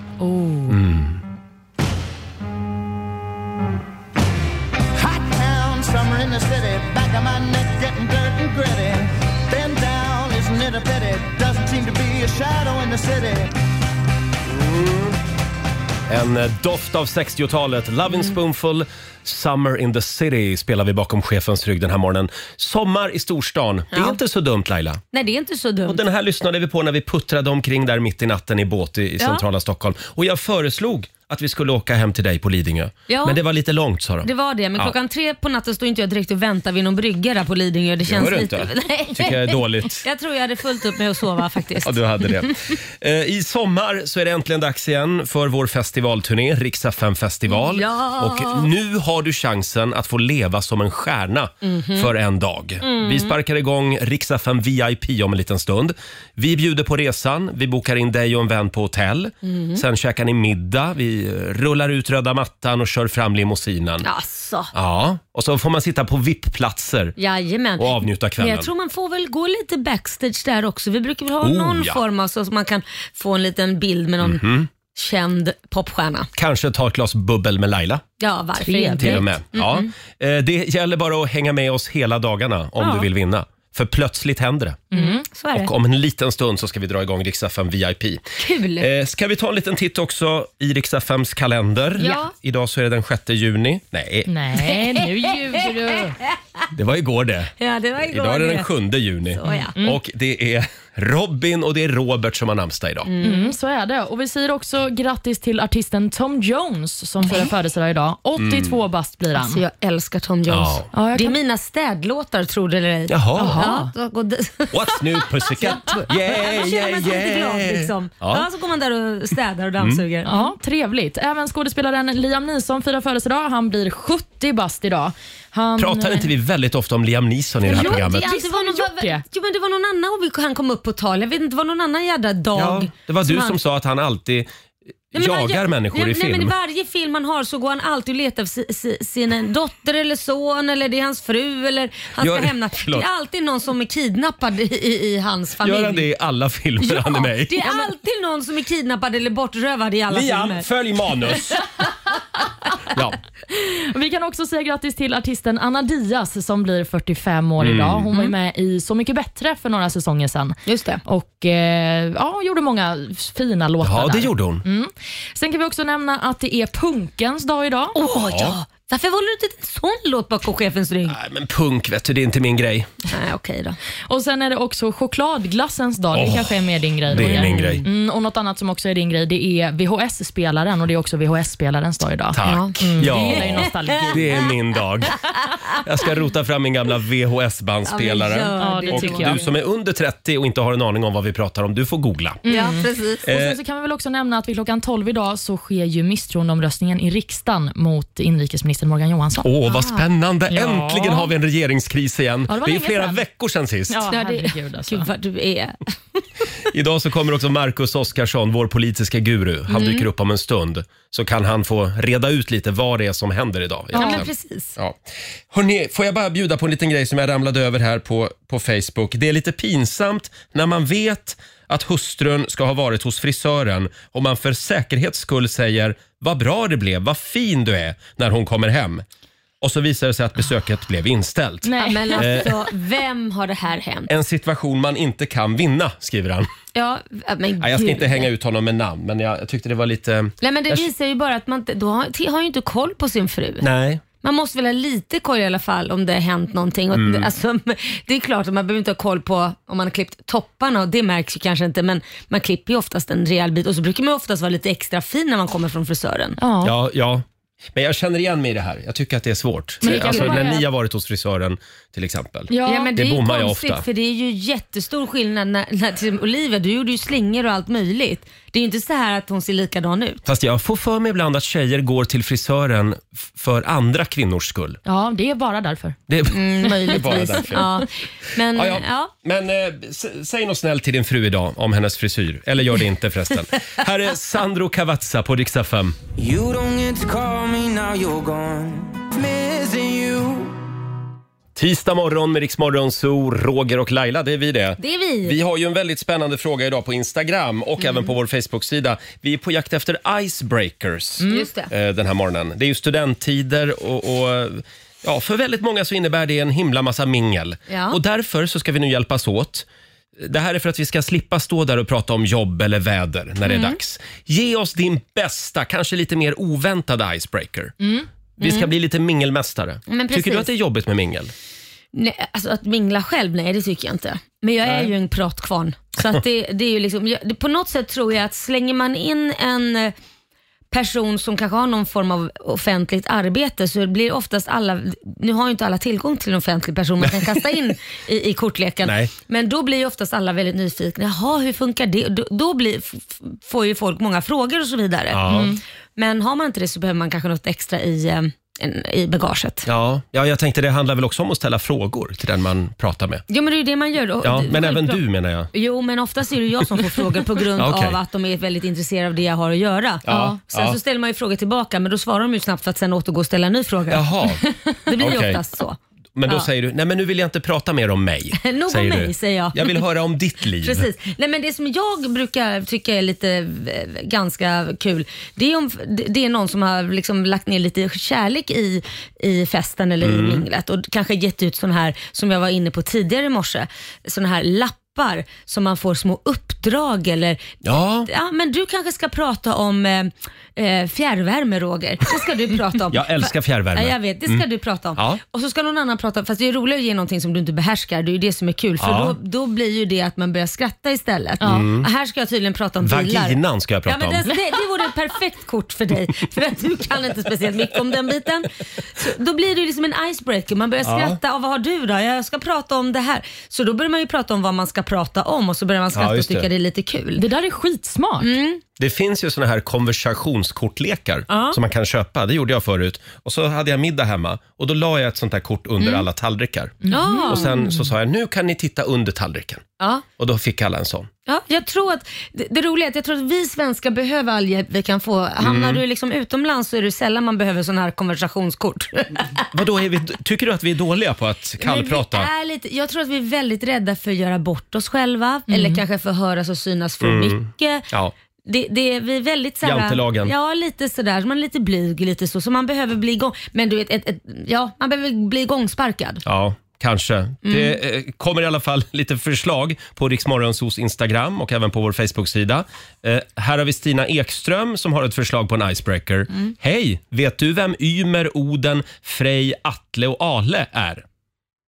Speaker 8: Hot town, summer in the city, back of my neck getting dirt and gritty. Bend down, isn't it a pity? Doesn't seem to be a shadow in the city.
Speaker 1: En eh, doft av 60-talet. Lovin'
Speaker 2: Mm.
Speaker 1: Spoonful, Summer in the city spelar vi bakom chefens rygg den här morgonen. Sommar i storstan. Det är inte så dumt Laila.
Speaker 2: Nej, det är inte så dumt.
Speaker 1: Och den här lyssnade vi på när vi puttrade omkring där mitt i natten i båt i, i
Speaker 2: Ja.
Speaker 1: centrala Stockholm. Och jag föreslog att vi skulle åka hem till dig på Lidingö.
Speaker 2: Ja.
Speaker 1: Men det var lite långt sa de.
Speaker 2: Det var det, men
Speaker 1: Ja.
Speaker 2: klockan tre på natten står inte jag direkt och väntar vid någon brygga där på Lidingö. Det känns
Speaker 1: Gör du
Speaker 2: lite...
Speaker 1: inte?
Speaker 2: Nej.
Speaker 1: Tycker jag är dåligt.
Speaker 2: Jag tror jag hade fullt upp med att sova faktiskt.
Speaker 1: Ja, du hade det. Eh, I sommar så är det äntligen dags igen för vår festivalturné, Rix FM festival.
Speaker 2: Ja.
Speaker 1: Och nu har du chansen att få leva som en stjärna
Speaker 2: Mhm.
Speaker 1: för en dag.
Speaker 2: Mm.
Speaker 1: Vi sparkar igång Rix FM VIP om en liten stund. Vi bjuder på resan, vi bokar in dig och en vän på hotell.
Speaker 2: Mm.
Speaker 1: Sen käkar ni middag, vi eh, rullar ut röda mattan och kör fram limousinen. Ja.
Speaker 2: Alltså.
Speaker 1: och så får man sitta på VIP-platser
Speaker 2: Jajamän.
Speaker 1: och avnjuta
Speaker 2: Men
Speaker 1: kvällen.
Speaker 2: Mm. jag tror man får väl gå lite backstage där också. Vi brukar väl ha
Speaker 1: Oh,
Speaker 2: någon
Speaker 1: ja. Mhm.
Speaker 2: form av så att man kan få en liten bild med någon känd popstjärna.
Speaker 1: Kanske ta ett glas bubbel med Laila.
Speaker 2: Ja, varför
Speaker 5: Trevligt.
Speaker 1: Till
Speaker 2: inte?
Speaker 1: och med. Ja. Eh, Det gäller bara att hänga med oss hela dagarna om
Speaker 2: Ja. Mm.
Speaker 1: du vill vinna. För plötsligt händer det.
Speaker 2: Så är det.
Speaker 1: Och om en liten stund så ska vi dra igång Riks-FM VIP.
Speaker 2: Kul.
Speaker 1: Eh, ska vi ta en liten titt också i Riks-FMs kalender?
Speaker 2: Ja.
Speaker 1: Idag så är det den 6 juni. Nej,
Speaker 5: Nej, nu ljuger du.
Speaker 1: det var igår det.
Speaker 2: Ja, det var igår.
Speaker 1: Idag är det
Speaker 2: det.
Speaker 1: den 7 juni.
Speaker 2: ja. Mm.
Speaker 1: Och det är Robin och det är Robert som har namnsdag idag.
Speaker 5: Mm, så är det. Och Vi säger också grattis till artisten Tom Jones som firar födelsedag idag. 82 bast blir han.
Speaker 2: Alltså jag älskar Tom Jones.
Speaker 1: Ja.
Speaker 5: Ja, jag
Speaker 2: Det är
Speaker 5: kan-
Speaker 2: mina städlåtar, tror du eller ej.
Speaker 1: Jaha.
Speaker 2: Ja, då går det...
Speaker 1: What's new pussycat? Yeah,
Speaker 2: Då känner man
Speaker 1: yeah,
Speaker 2: sig lite glad
Speaker 1: yeah.
Speaker 2: liksom.
Speaker 1: Ja. Mm.
Speaker 2: Ja. så går man där och städar och dammsuger.
Speaker 5: Ja, trevligt. Även skådespelaren Liam Neeson firar födelsedag. Han blir 70 bast idag. Han,
Speaker 1: Pratar inte vi väldigt ofta om Liam Neeson i det här
Speaker 5: Jo, det är
Speaker 1: programmet?
Speaker 2: Ja,
Speaker 5: Visst
Speaker 2: det var
Speaker 5: har vi gjort
Speaker 2: någon,
Speaker 5: det?
Speaker 2: jo, men det var någon annan och vi- han kom upp på tal. Jag vet inte, det var någon annan jädra dag.
Speaker 1: Ja, det var du
Speaker 2: han-
Speaker 1: som sa att han alltid eh,
Speaker 2: Nej, men
Speaker 1: jagar
Speaker 2: han-
Speaker 1: människor
Speaker 2: nej,
Speaker 1: i film.
Speaker 2: Nej, men i varje film han har så går han alltid och letar efter si, si, sin dotter eller son eller det är hans fru eller han ska
Speaker 1: Gör-
Speaker 2: hämna. Det
Speaker 1: förlåt.
Speaker 2: är alltid någon som är kidnappad i, i, i hans familj.
Speaker 1: Gör han det i alla filmer
Speaker 2: Ja,
Speaker 1: han är med i?
Speaker 2: det är alltid någon som är kidnappad eller bortrövad i alla
Speaker 1: Liam,
Speaker 2: filmer.
Speaker 1: följ manus! ja.
Speaker 5: Vi kan också säga grattis till artisten Anna Diaz som blir 45
Speaker 1: Mm.
Speaker 5: år idag. Hon var ju med i Så mycket bättre för några säsonger sedan.
Speaker 2: Just det.
Speaker 5: Och eh, ja, gjorde många fina låtar
Speaker 1: ja, det
Speaker 5: där.
Speaker 1: gjorde hon.
Speaker 5: Sen kan vi också nämna att det är punkens dag idag.
Speaker 1: Oh.
Speaker 2: Åh ja! Varför valde du inte en sån låt bakom chefens rygg?
Speaker 1: Nej, men punk vet du, det är inte min grej.
Speaker 2: Nej, okej då.
Speaker 5: Och Sen är det också chokladglassens dag. Det
Speaker 1: Åh,
Speaker 5: kanske är mer din grej.
Speaker 1: det är
Speaker 5: Roger.
Speaker 1: min grej.
Speaker 5: Mm, och Något annat som också är din grej det är VHS-spelaren och det är också VHS-spelarens dag idag.
Speaker 1: Tack.
Speaker 5: mm, Det är ju
Speaker 1: Ja,
Speaker 5: nostalgi.
Speaker 1: det är min dag. Jag ska rota fram min gamla VHS-bandspelare.
Speaker 5: Ja, det
Speaker 1: Och
Speaker 5: tycker
Speaker 1: du
Speaker 5: jag.
Speaker 1: som är under 30 och inte har en aning om vad vi pratar om, du får googla.
Speaker 2: Ja,
Speaker 5: Mm.
Speaker 2: precis.
Speaker 5: Och sen så kan vi väl också nämna att vid klockan 12 idag så sker ju misstroendeomröstningen i riksdagen mot inrikesminister Morgan Johansson.
Speaker 1: Åh, vad spännande!
Speaker 5: Ah. Ja.
Speaker 1: Äntligen har vi en regeringskris igen.
Speaker 5: Ja, det var
Speaker 1: det är
Speaker 5: länge
Speaker 1: flera
Speaker 5: sedan.
Speaker 1: veckor sedan sist.
Speaker 5: Ja,
Speaker 2: Ja, det-
Speaker 5: herregud alltså.
Speaker 2: Gud vad du är.
Speaker 1: Idag så kommer också Marcus Oskarsson, vår politiska guru. Han
Speaker 2: Mm.
Speaker 1: dyker upp om en stund. Så kan han få reda ut lite vad det är som händer idag.
Speaker 2: Ja,
Speaker 1: egentligen.
Speaker 2: men precis.
Speaker 1: Ja. Hörrni, får jag bara bjuda på en liten grej som jag ramlade över här på, på Facebook. Det är lite pinsamt när man vet att hustrun ska ha varit hos frisören och man för säkerhets skull säger “Vad bra det blev, vad fin du är” när hon kommer hem. Och så visar det sig att besöket blev inställt.
Speaker 2: Ja,
Speaker 5: Nej.
Speaker 2: men alltså, vem har det här hänt?
Speaker 1: En situation man inte kan vinna, skriver han.
Speaker 2: Ja, men
Speaker 1: Nej, jag ska
Speaker 2: gud.
Speaker 1: inte hänga ut honom med namn, men jag, jag tyckte det var lite...
Speaker 2: Nej, men det
Speaker 1: Jag-
Speaker 2: visar ju bara att man inte- då har, t- har ju inte koll på sin fru.
Speaker 1: Nej.
Speaker 2: Man måste väl ha lite koll i alla fall om det har hänt någonting. Och-
Speaker 1: Mm.
Speaker 2: Alltså, det är klart att man behöver inte ha koll på om man har klippt topparna och det märks ju kanske inte men man klipper ju oftast en rejäl bit och så brukar man ju oftast vara lite extra fin när man kommer från frisören.
Speaker 5: Ja.
Speaker 1: Ja, ja. Men jag känner igen mig i det här. Jag tycker att det är svårt.
Speaker 5: Men det kan
Speaker 1: Alltså,
Speaker 5: ju
Speaker 1: när
Speaker 5: vara-
Speaker 1: ni har varit hos frisören till exempel.
Speaker 5: Ja.
Speaker 2: men
Speaker 1: det
Speaker 2: är ju
Speaker 1: bommar jag
Speaker 2: konstigt,
Speaker 1: ofta.
Speaker 2: För det är ju jättestor skillnad när, när till exempel Olivia, du gjorde ju slingor och allt möjligt. Det är ju inte så här att hon ser likadan ut.
Speaker 1: Fast jag får för mig ibland att tjejer går till frisören f- för andra kvinnors skull.
Speaker 5: ja, Mm. det är bara därför.
Speaker 1: Mm. Det... bara
Speaker 2: Möjligtvis.
Speaker 1: därför.
Speaker 2: Ja. Men,
Speaker 1: Ja,
Speaker 2: ja,
Speaker 1: ja. Men eh, s- säg något snällt till din fru idag om hennes frisyr. Eller gör det inte förresten. Här är Sandro Cavazza på Dix FM.
Speaker 9: You don't get to call me now you're gone. Missing you.
Speaker 1: Tisdag morgon med Rix Morgon Zoo, Roger och Laila, det är vi det.
Speaker 2: Det är vi. Mm.
Speaker 1: Vi har ju en väldigt spännande fråga idag på Instagram och även på vår Facebook-sida. Vi är på jakt efter icebreakers
Speaker 2: Just det.
Speaker 1: eh, den här morgonen. Det är ju studenttider och, och ja, för väldigt många så innebär det en himla massa mingel.
Speaker 2: Ja.
Speaker 1: Och därför så ska vi nu hjälpas åt. Det här är för att vi ska slippa stå där och prata om jobb eller väder när det
Speaker 2: Mm.
Speaker 1: är dags. Ge oss din bästa, kanske lite mer oväntade icebreaker. Vi ska bli lite mingelmästare.
Speaker 2: Mm. Men
Speaker 1: Tycker du
Speaker 2: precis.
Speaker 1: att det är jobbigt med mingel?
Speaker 2: Nej, alltså att mingla själv, nej det tycker jag inte. Men jag är ju en pratkvarn. Så att det, det är ju liksom, jag, det, på något sätt tror jag att slänger man in en eh, person som kanske har någon form av offentligt arbete så blir oftast alla, nu har ju inte alla tillgång till en offentlig person man kan kasta in i, i kortleken,
Speaker 1: Nej.
Speaker 2: men då blir ju oftast alla väldigt nyfikna. Jaha, hur funkar det? Då, då blir, f- f- får ju folk många frågor och så vidare. Mm.
Speaker 1: Ja.
Speaker 2: Men har man inte det så behöver man kanske något extra i, eh, en, i bagaget.
Speaker 1: Ja, ja, jag tänkte det handlar väl också om att ställa frågor till den man pratar med.
Speaker 2: Jo men det är ju det man gör. Och-
Speaker 1: Ja, men även
Speaker 2: självklart-
Speaker 1: du menar jag.
Speaker 2: Jo, men oftast är det jag som får frågor på grund
Speaker 1: Okej.
Speaker 2: av att de är väldigt intresserade av det jag har att göra.
Speaker 1: Ja,
Speaker 2: Sen
Speaker 1: ja.
Speaker 2: så ställer man ju frågor tillbaka, men då svarar de ju snabbt för att sen återgå och ställa en ny fråga.
Speaker 1: Jaha,
Speaker 2: Det blir ju
Speaker 1: okej.
Speaker 2: oftast så.
Speaker 1: men då
Speaker 2: Ja.
Speaker 1: säger du, nej men nu vill jag inte prata mer om mig.
Speaker 2: Nog om
Speaker 1: säger
Speaker 2: mig,
Speaker 1: du.
Speaker 2: säger jag.
Speaker 1: Jag vill höra om ditt liv.
Speaker 2: Precis. Nej, men det som jag brukar tycka är lite eh, ganska kul, det är, om, det är någon som har liksom lagt ner lite kärlek i, i festen eller
Speaker 1: Mm.
Speaker 2: i minglet och kanske gett ut sådana här, som jag var inne på tidigare i morse, sådana här lappar som man får små uppdrag eller
Speaker 1: Ja,
Speaker 2: Ja, men du kanske ska prata om eh, eh, fjärrvärme, Roger. Det ska du prata om.
Speaker 1: Jag älskar fjärrvärme. Mm.
Speaker 2: Ja, jag vet. Det ska du prata om.
Speaker 1: Ja.
Speaker 2: Och så ska någon annan prata om, fast det är roligare att ge någonting som du inte behärskar. Det är ju det som är kul, för
Speaker 1: Ja. Mm.
Speaker 2: då, då blir ju det att man börjar skratta istället. Och Här ska jag tydligen prata om bilar.
Speaker 1: vaginan ska jag
Speaker 2: Ja,
Speaker 1: prata
Speaker 2: men det,
Speaker 1: om.
Speaker 2: det, det vore ett perfekt kort för dig, för att du kan inte speciellt mycket om den biten. Så då blir det ju liksom en icebreaker. Man börjar skratta. Ja. Vad har du då? Jag ska prata om det här. Så då börjar man ju prata om vad man ska prata om och så börjar man skratta
Speaker 1: Ja,
Speaker 2: och
Speaker 1: just
Speaker 2: tycka
Speaker 1: det.
Speaker 2: det är lite kul.
Speaker 5: Det där är skitsmart.
Speaker 1: Det finns ju såna här konversationskortlekar som man kan köpa. Det gjorde jag förut. Och så hade jag middag hemma och då la jag ett sånt här kort under
Speaker 2: Mm.
Speaker 1: alla tallrikar.
Speaker 2: Ja.
Speaker 1: Mm-hmm. Och sen så sa jag, nu kan ni titta under tallriken.
Speaker 2: Ja.
Speaker 1: Och då fick alla en sån.
Speaker 2: Ja, jag tror att, det, det roliga är att jag tror att vi svenskar behöver all hjälp vi kan få. Hamnar
Speaker 1: Mm.
Speaker 2: du liksom utomlands så är det sällan man behöver sådana här konversationskort.
Speaker 1: Vadå, är vi, tycker du att vi är dåliga på att kallprata?
Speaker 2: Men vi är lite, jag tror att vi är väldigt rädda för att göra bort oss själva eller kanske för att höras och synas för mycket.
Speaker 1: Mm. Ja.
Speaker 2: Det, det, vi är väldigt såhär,
Speaker 1: Jantelagen.
Speaker 2: Ja, lite sådär. Man är lite blyg, lite så. Så man behöver bli igång, men du vet, ett, ett, ja, man behöver bli igångsparkad.
Speaker 1: Ja, kanske. Det eh, kommer i alla fall lite förslag på Riksmorgonsos Instagram och även på vår Facebook-sida. Eh, här har vi Stina Ekström som har ett förslag på en icebreaker. Hej! Vet du vem Ymer, Oden, Frej, Atle och Ale är?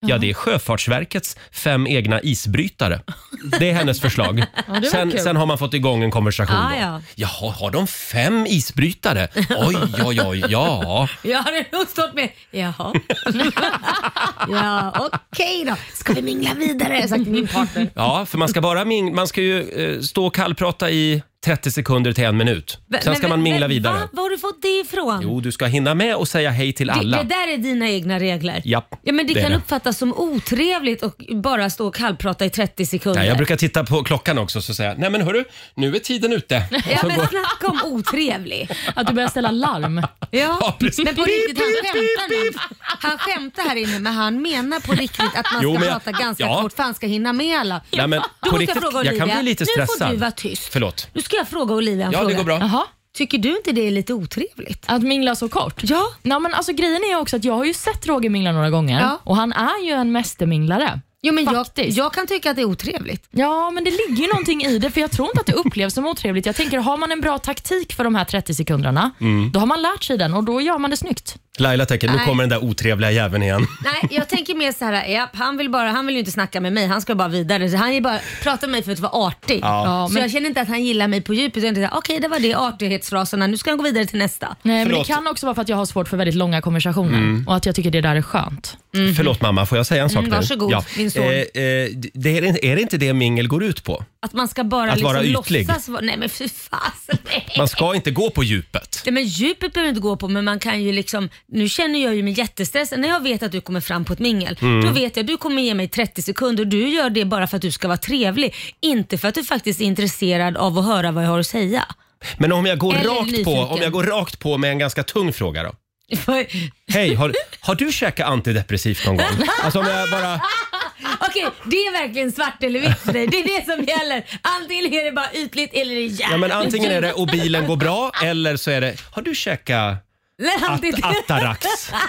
Speaker 1: Ja, det är Sjöfartsverkets fem egna isbrytare. Det är hennes förslag. sen, sen har man fått igång en konversation.
Speaker 2: Ah,
Speaker 1: då.
Speaker 2: ja.
Speaker 1: Jaha, har de fem isbrytare? Oj, oj, oj, ja.
Speaker 2: Jag hade nog stått med, jaha. ja, okej då. Ska vi mingla vidare? Jag har sagt till min partner.
Speaker 1: Ja, för man ska bara ming- man ska ju eh, stå och kallprata i 30 sekunder till en minut. Sen
Speaker 2: Men-
Speaker 1: ska
Speaker 2: men-
Speaker 1: man mingla
Speaker 2: men
Speaker 1: vidare.
Speaker 2: Va? Var har du fått det ifrån?
Speaker 1: Jo, du ska hinna med och säga hej till
Speaker 2: det,
Speaker 1: alla.
Speaker 2: det där är dina egna regler.
Speaker 1: Japp,
Speaker 2: ja, men det,
Speaker 1: det är
Speaker 2: kan
Speaker 1: det.
Speaker 2: uppfattas som otrevligt och bara stå och kallprata i 30 sekunder.
Speaker 1: Nej, jag brukar titta på klockan också så säga, nej men hörru, nu är tiden ute. Och
Speaker 2: Ja
Speaker 1: så
Speaker 2: men
Speaker 1: går-
Speaker 2: snacka om otrevlig.
Speaker 5: Att du börjar ställa larm.
Speaker 1: Ja,
Speaker 2: Ja,
Speaker 1: precis.
Speaker 2: men på
Speaker 1: Pip,
Speaker 2: riktigt, han skämtar
Speaker 1: pip,
Speaker 2: nu. Han skämtar här inne men han menar på riktigt att man
Speaker 1: Jo,
Speaker 2: ska
Speaker 1: men jag-
Speaker 2: prata ganska
Speaker 1: ja.
Speaker 2: kort för han ska hinna med alla.
Speaker 1: Nej, men
Speaker 2: Då
Speaker 1: på
Speaker 2: måste
Speaker 1: riktigt,
Speaker 2: jag fråga
Speaker 1: jag
Speaker 2: Olivia,
Speaker 1: kan bli lite
Speaker 2: nu får
Speaker 1: stressad.
Speaker 2: du vara tyst.
Speaker 1: Förlåt.
Speaker 2: Nu ska jag fråga Olivia en
Speaker 1: Ja,
Speaker 2: fråga.
Speaker 1: det går bra.
Speaker 5: Jaha.
Speaker 2: Tycker du inte det är lite otrevligt?
Speaker 5: Att mingla så kort?
Speaker 2: Ja.
Speaker 5: Nej, men alltså, grejen är ju också att jag har ju sett Roger mingla några gånger
Speaker 2: Ja.
Speaker 5: och han är ju en mästerminglare.
Speaker 2: Jo, men jag,
Speaker 5: Faktiskt.
Speaker 2: jag kan tycka att det är otrevligt.
Speaker 5: Ja, men det ligger ju någonting i det, för jag tror inte att det upplevs som otrevligt. Jag tänker, har man en bra taktik för de här 30 sekunderna,
Speaker 1: Mm.
Speaker 5: då har man lärt sig den och då gör man det snyggt.
Speaker 1: Laila tänker, nu
Speaker 2: Nej.
Speaker 1: kommer den där otrevliga jäveln igen.
Speaker 2: Nej, jag tänker mer så här, japp, han, vill bara, han vill ju inte snacka med mig, han ska bara vidare. Så han är bara, pratar med mig för att vara artig.
Speaker 1: Ja.
Speaker 2: Så jag känner inte att han gillar mig på djupet. Jag tänkte så här, Okej, det var det artighetsfraserna, nu ska han gå vidare till nästa.
Speaker 5: Nej, men
Speaker 1: Förlåt. Mm.
Speaker 5: det kan också vara för att jag har svårt för väldigt långa konversationer och att jag tycker det där är skönt.
Speaker 1: Förlåt mamma, får jag säga en sak nu?
Speaker 2: Mhm. Mm, varsågod, min son.
Speaker 1: Eh, eh, det är, är det inte det mingel går ut på?
Speaker 2: Att man ska bara
Speaker 1: Att
Speaker 2: liksom
Speaker 1: vara ytlig.
Speaker 2: låtsas vara... Nej men fy fasen. Nej.
Speaker 1: Man ska inte gå på djupet.
Speaker 2: Nej, men djupet behöver inte gå på men man kan ju liksom, nu känner jag ju mig jättestressad. När jag vet att du kommer fram på ett mingel,
Speaker 1: Mm.
Speaker 2: då vet jag att du kommer ge mig 30 sekunder och du gör det bara för att du ska vara trevlig. Inte för att du faktiskt är intresserad av att höra vad jag har att säga.
Speaker 1: Men om jag går,
Speaker 2: Eller
Speaker 1: rakt på, om
Speaker 2: nyfiken.
Speaker 1: jag går rakt på med en ganska tung fråga då?
Speaker 2: För-
Speaker 1: Hej, har, har du käkat antidepressivt någon gång? Alltså om jag bara...
Speaker 2: Okej, det är verkligen svart eller vitt för dig. Det är det som gäller. Antingen är det bara ytligt eller det är jävligt
Speaker 1: Ja, men antingen är det och bilen går bra eller så är det, har du käkat
Speaker 2: Att,
Speaker 1: at, Atarax?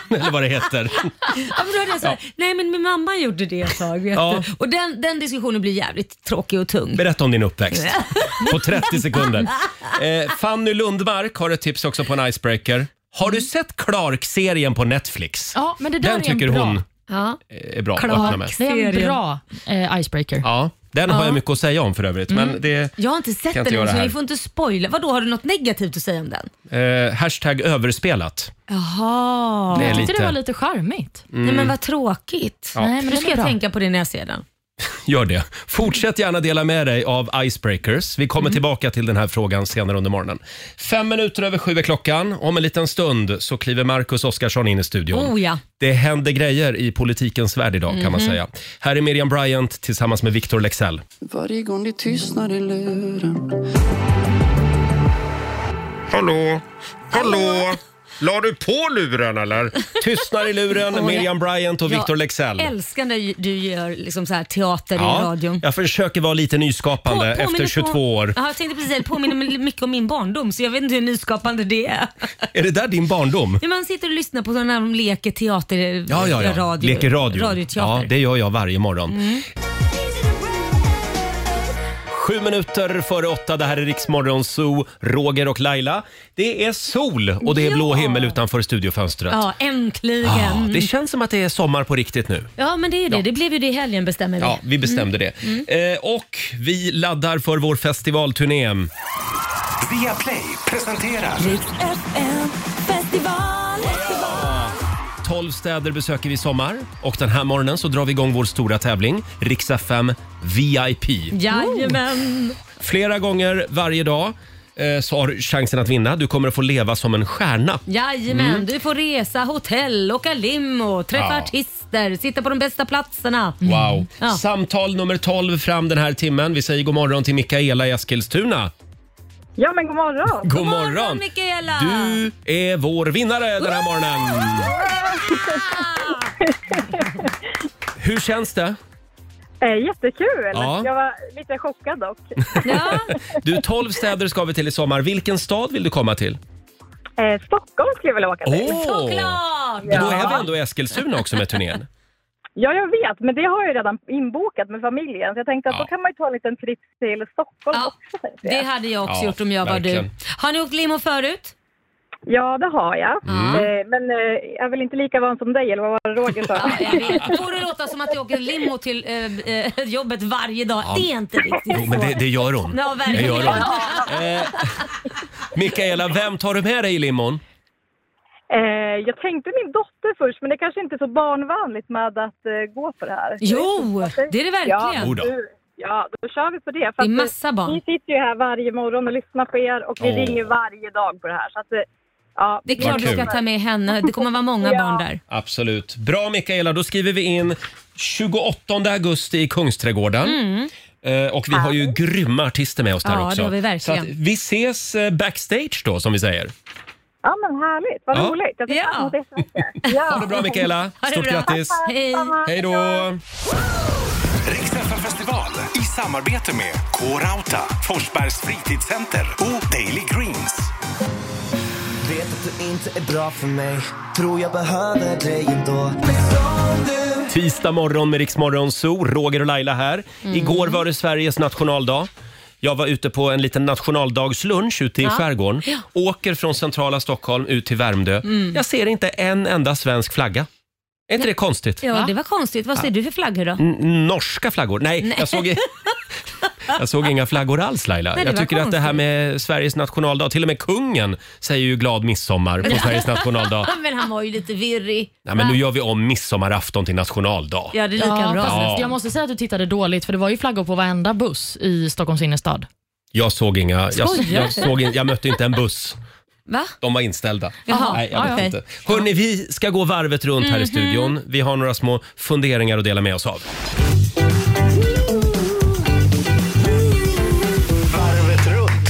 Speaker 1: Eller vad det heter.
Speaker 2: Ja, men då är det så här, Nej men min mamma gjorde det ett tag. Vet
Speaker 1: Ja.
Speaker 2: du? Och den, den diskussionen blir jävligt tråkig och tung.
Speaker 1: Berätta om din uppväxt på 30 sekunder. Eh, Fanny Lundmark har ett tips också på en icebreaker. Har du sett Clark-serien på Netflix?
Speaker 5: Ja, men det där
Speaker 1: Den
Speaker 5: är en
Speaker 1: tycker
Speaker 5: bra,
Speaker 1: hon
Speaker 2: Ja.
Speaker 1: eh, är bra att öppna med.
Speaker 2: Clark.
Speaker 5: det är en
Speaker 2: serien.
Speaker 5: bra eh, icebreaker.
Speaker 1: Ja, den har jag mycket att säga om för övrigt.
Speaker 5: Mm.
Speaker 1: Men det,
Speaker 2: Jag har inte sett
Speaker 1: Kan inte
Speaker 2: den
Speaker 1: göra
Speaker 2: än så
Speaker 1: här.
Speaker 2: ni får inte spoila. Vadå, har du något negativt att säga om den?
Speaker 1: eh, hashtag överspelat.
Speaker 2: Jaha.
Speaker 1: Det är
Speaker 5: Jag tyckte det
Speaker 1: lite,
Speaker 5: var
Speaker 1: Mm.
Speaker 5: lite charmigt.
Speaker 2: Nej men vad tråkigt.
Speaker 5: Nej, men
Speaker 2: Nu
Speaker 5: den
Speaker 2: ska
Speaker 5: är
Speaker 2: jag
Speaker 5: bra.
Speaker 2: tänka på det när jag ser den.
Speaker 1: gör det. Fortsätt gärna dela med dig av icebreakers. Vi kommer tillbaka till den här frågan senare under morgonen. Fem minuter över sju är klockan. Om en liten stund så kliver Marcus Oskarsson in i studion.
Speaker 2: Oh ja. Mhm.
Speaker 1: Det händer grejer i politikens värld idag kan man säga. Här är Miriam Bryant tillsammans med Victor Lexell.
Speaker 10: Varje gång det tystnar i luren
Speaker 1: Hallå! Hallå! La du på luren eller? Tystnar i luren, Miriam Bryant och Victor Lexell.
Speaker 2: Älskar när du gör liksom så här teater i
Speaker 1: Ja,
Speaker 2: radion.
Speaker 1: jag försöker vara lite nyskapande
Speaker 2: På-
Speaker 1: efter
Speaker 2: påminner
Speaker 1: 22 år.
Speaker 2: Ja, jag tänkte precis säga det. Påminner mig mycket om min barndom så jag vet inte hur nyskapande det är.
Speaker 1: Är det där din barndom?
Speaker 2: När man sitter och lyssnar på sådana de leker teater,
Speaker 1: Ja, ja, ja.
Speaker 2: radio.
Speaker 1: Leker radio. Ja,
Speaker 2: Radioteater. Mm.
Speaker 1: det gör jag varje morgon. Sju minuter före åtta, det här är Riksmorgon Zoo, Roger och Laila. Det är sol och det är
Speaker 2: Ja.
Speaker 1: blå himmel utanför studiofönstret.
Speaker 2: Ja, äntligen.
Speaker 1: Ah, det känns som att det är sommar på riktigt nu.
Speaker 2: Ja, men det är ju det. Det blev ju det i helgen bestämmer vi.
Speaker 1: Ja, vi bestämde det.
Speaker 2: Mm.
Speaker 1: Eh, och vi laddar för vår festivalturné.
Speaker 3: Via Play presenterar
Speaker 1: Tolv städer besöker vi i sommar och den här morgonen så drar vi igång vår stora tävling, Riksa 5 VIP.
Speaker 2: Jajamän.
Speaker 1: Oh. Flera gånger varje dag. Eh, eh, så har du chansen att vinna. Du kommer att få leva som en stjärna.
Speaker 2: Jajamän,
Speaker 1: Mm.
Speaker 2: du får resa, hotell, åka limo, träffa
Speaker 1: Ja. Mm.
Speaker 2: artister, sitta på de bästa platserna.
Speaker 1: Wow.
Speaker 2: Mm. Ja.
Speaker 1: Samtal nummer 12 fram den här timmen. Vi säger god morgon till Mikaela i Eskilstuna.
Speaker 11: Ja, men god morgon.
Speaker 1: God morgon,
Speaker 2: Mikaela!
Speaker 1: Du är vår vinnare den här morgonen. Hur känns det?
Speaker 11: Eh, jättekul.
Speaker 1: Ja.
Speaker 11: Jag var lite chockad dock.
Speaker 1: Du, 12 städer ska vi till i sommar. Vilken stad vill du komma till?
Speaker 11: Eh, Stockholm skulle jag vilja åka till.
Speaker 1: Åh!
Speaker 11: Såklart!
Speaker 1: Men Då är vi
Speaker 11: Ja.
Speaker 1: ändå i Eskilstuna också med turnén.
Speaker 11: ja, jag vet, men det har jag ju redan inbokat med familjen. Så jag tänkte att
Speaker 1: Ja.
Speaker 11: då kan man ju ta en liten tripp till Stockholm också. tänkte jag.
Speaker 2: Det hade jag också
Speaker 1: Ja,
Speaker 2: gjort om jag var
Speaker 1: verkligen.
Speaker 2: du. Har ni åkt limo förut?
Speaker 11: Ja, det har jag.
Speaker 1: Mm.
Speaker 11: Eh, men eh, jag är väl inte lika van som dig, eller vad var det Roger sa?
Speaker 2: Det borde låta som att jag åker limo till eh, eh, jobbet varje dag.
Speaker 1: Ja.
Speaker 2: Det är inte riktigt
Speaker 1: Jo, men
Speaker 2: så.
Speaker 1: det, det gör hon.
Speaker 2: Ja,
Speaker 1: Det
Speaker 2: verkligen.
Speaker 1: gör hon. Eh, Mikaela, vem tar du med dig i limon?
Speaker 11: eh, jag tänkte min dotter först, men det kanske inte är så barnvanligt med att eh, gå på det här.
Speaker 2: Jo, det är det verkligen.
Speaker 11: Ja,
Speaker 2: Jo då.
Speaker 11: du, ja, då kör vi på det. För
Speaker 2: Det är
Speaker 11: att, eh,
Speaker 2: massa barn.
Speaker 11: Vi sitter ju här varje morgon och lyssnar på er och vi
Speaker 2: Åh.
Speaker 11: ringer varje dag på det här. Så att, eh, ja,
Speaker 2: Det är klart
Speaker 1: Vad
Speaker 2: du ska
Speaker 1: kul.
Speaker 2: ta med henne. Det kommer vara många
Speaker 11: Ja.
Speaker 2: barn där.
Speaker 1: Absolut. Bra Mikaela, då skriver vi in 28 augusti i Kungsträdgården.
Speaker 2: Mm.
Speaker 1: Eh, Och vi har ju grymma artister med oss där
Speaker 2: Ja, det
Speaker 1: också.
Speaker 2: har vi
Speaker 1: Så
Speaker 2: verkligen.
Speaker 1: att vi ses eh, backstage då, som vi säger.
Speaker 11: Ja, men härligt. Vad
Speaker 1: Ja.
Speaker 11: roligt. Jag tycker ja. det så mycket. ja.
Speaker 1: Ha det bra Mikaela, stort grattis.
Speaker 2: Hej.
Speaker 1: Hej då!
Speaker 3: Riksfn festival i samarbete med K-Rauta, Forsbergs fritidscenter och Daily Greens.
Speaker 12: Vet att du inte är bra för mig Tror jag behöver dig ändå Men som du
Speaker 1: Tisdag morgon med Riksmorgon Zoo, Roger och Laila här.
Speaker 12: Mm.
Speaker 1: Igår var det Sveriges nationaldag. Jag var ute på en liten nationaldagslunch ute i
Speaker 2: Ja.
Speaker 1: skärgården.
Speaker 2: Ja.
Speaker 1: Åker från centrala Stockholm ut till Värmdö.
Speaker 2: Mm.
Speaker 1: Jag ser inte en enda svensk flagga. Är inte det konstigt?
Speaker 2: Ja, det var konstigt. Vad ser
Speaker 1: Ja.
Speaker 2: du för flaggor då?
Speaker 1: N- Norska flaggor? Nej,
Speaker 2: Nej.
Speaker 1: Jag, såg, i- jag såg inga flaggor alls Laila.
Speaker 2: Nej, det
Speaker 1: jag
Speaker 2: var
Speaker 1: tycker att det här med Sveriges nationaldag, till och med kungen säger ju glad midsommar på Sveriges nationaldag.
Speaker 2: men han var ju lite virrig.
Speaker 1: Nej, men nu gör vi om midsommarafton till nationaldag.
Speaker 2: Ja, det är lika bra.
Speaker 5: fast
Speaker 1: Ja.
Speaker 5: Jag måste säga att du tittade dåligt för det var ju flaggor på varenda buss i Stockholms innerstad.
Speaker 1: Jag såg inga, jag,
Speaker 5: Skojar du?
Speaker 1: jag, såg in, jag mötte inte en buss.
Speaker 2: Va?
Speaker 1: De var inställda.
Speaker 2: Jaha,
Speaker 1: Nej, jag
Speaker 2: ja,
Speaker 1: vet
Speaker 2: ja.
Speaker 1: inte. Hörni, vi ska gå varvet runt här i
Speaker 2: Mhm.
Speaker 1: studion. Vi har några små funderingar att dela med oss av.
Speaker 3: Varvet runt.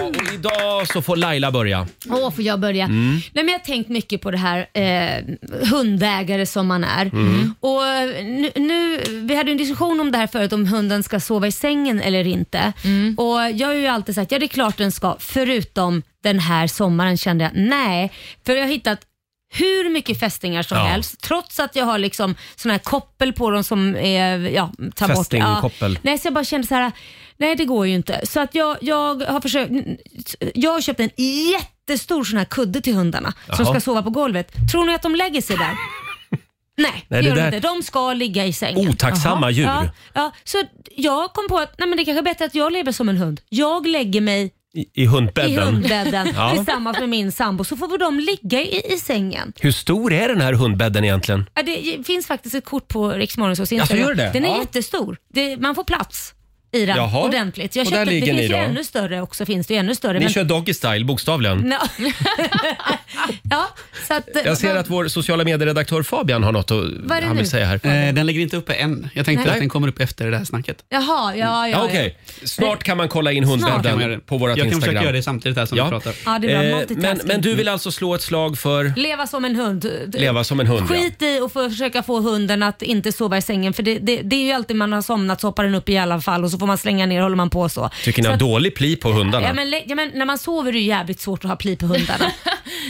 Speaker 1: Och idag så får Laila börja.
Speaker 2: Åh, får jag börja?
Speaker 1: Mm.
Speaker 2: Nej, men jag har tänkt mycket på det här eh, hundägare som man är.
Speaker 1: Mm.
Speaker 2: Och eh, nu, nu, vi hade ju en diskussion om det här förut, om hunden ska sova i sängen eller inte.
Speaker 1: Mm.
Speaker 2: Och Jag har ju alltid sagt, ja det är klart den ska, förutom den här sommaren kände jag, nej. För jag har hittat hur mycket fästingar som
Speaker 13: Ja.
Speaker 2: helst, trots att jag har liksom sån här koppel på dem som är, ja, tar bort. Ja.
Speaker 1: Fästingkoppel.
Speaker 2: Nej, så jag bara kände så här, nej det går ju inte. Så att jag, jag har försökt, jag har köpt en jättestor sån här kudde till hundarna som
Speaker 1: Jaha.
Speaker 2: ska sova på golvet. Tror ni att de lägger sig där? Nej,
Speaker 1: Nej,
Speaker 2: det
Speaker 1: det
Speaker 2: gör de
Speaker 1: där-
Speaker 2: inte. De ska ligga i sängen. Jaha.
Speaker 1: Otacksamma djur.
Speaker 2: Ja, ja, så jag kom på att nej, men det kanske är bättre att jag lever som en hund. Jag lägger mig
Speaker 1: I, i hundbädden.
Speaker 2: i hundbädden
Speaker 1: ja.
Speaker 2: tillsammans med min sambo så får väl de ligga i, i sängen.
Speaker 1: Hur stor är den här hundbädden egentligen?
Speaker 2: Ja, det finns faktiskt ett kort på Rix Morgonzås
Speaker 1: Ja, så gör det?
Speaker 2: Den är
Speaker 1: Ja.
Speaker 2: jättestor. Det, man får plats i den
Speaker 1: Jaha.
Speaker 2: ordentligt. Jag
Speaker 1: Och där
Speaker 2: köpte, det
Speaker 1: ligger
Speaker 2: finns
Speaker 1: ni
Speaker 2: ju
Speaker 1: då?
Speaker 2: ännu större också. Finns det ju ännu större.
Speaker 1: Ni
Speaker 2: men-
Speaker 1: kör doggy style, bokstavligen.
Speaker 2: Ja. ja, så att,
Speaker 1: Jag ser att vår sociala medieredaktör Fabian har något att,
Speaker 2: Vad är det
Speaker 1: han vill
Speaker 2: nu?
Speaker 1: säga här. den ligger inte uppe än. Jag
Speaker 2: tänkte Nej. att den
Speaker 1: kommer upp efter det här snacket.
Speaker 2: Jaha, ja, ja.
Speaker 1: Ja,
Speaker 2: ja.
Speaker 1: Okej, snart kan man kolla in
Speaker 2: Snart. Kan man
Speaker 1: hundbädden
Speaker 2: göra
Speaker 1: på vårt
Speaker 14: Jag kan
Speaker 1: Instagram.
Speaker 14: försöka göra det
Speaker 1: samtidigt här som
Speaker 14: vi
Speaker 1: pratar.
Speaker 2: Ja, det är Mm. bra.
Speaker 1: Eh, men,
Speaker 2: Multitasking.
Speaker 1: men du vill alltså slå ett slag för
Speaker 2: Leva som en hund.
Speaker 1: leva som en hund?
Speaker 2: Skit i och få- försöka få hunden att inte sova i sängen för det, det, det är ju alltid man har somnat så hoppar den upp i alla fall och så får man slänga ner håller man på så.
Speaker 1: Ja. Tycker ni
Speaker 2: så
Speaker 1: har
Speaker 2: att-
Speaker 1: dålig pli på hundarna?
Speaker 2: Ja men, lä- ja, men när man sover är det ju jävligt svårt att ha pli på hundarna.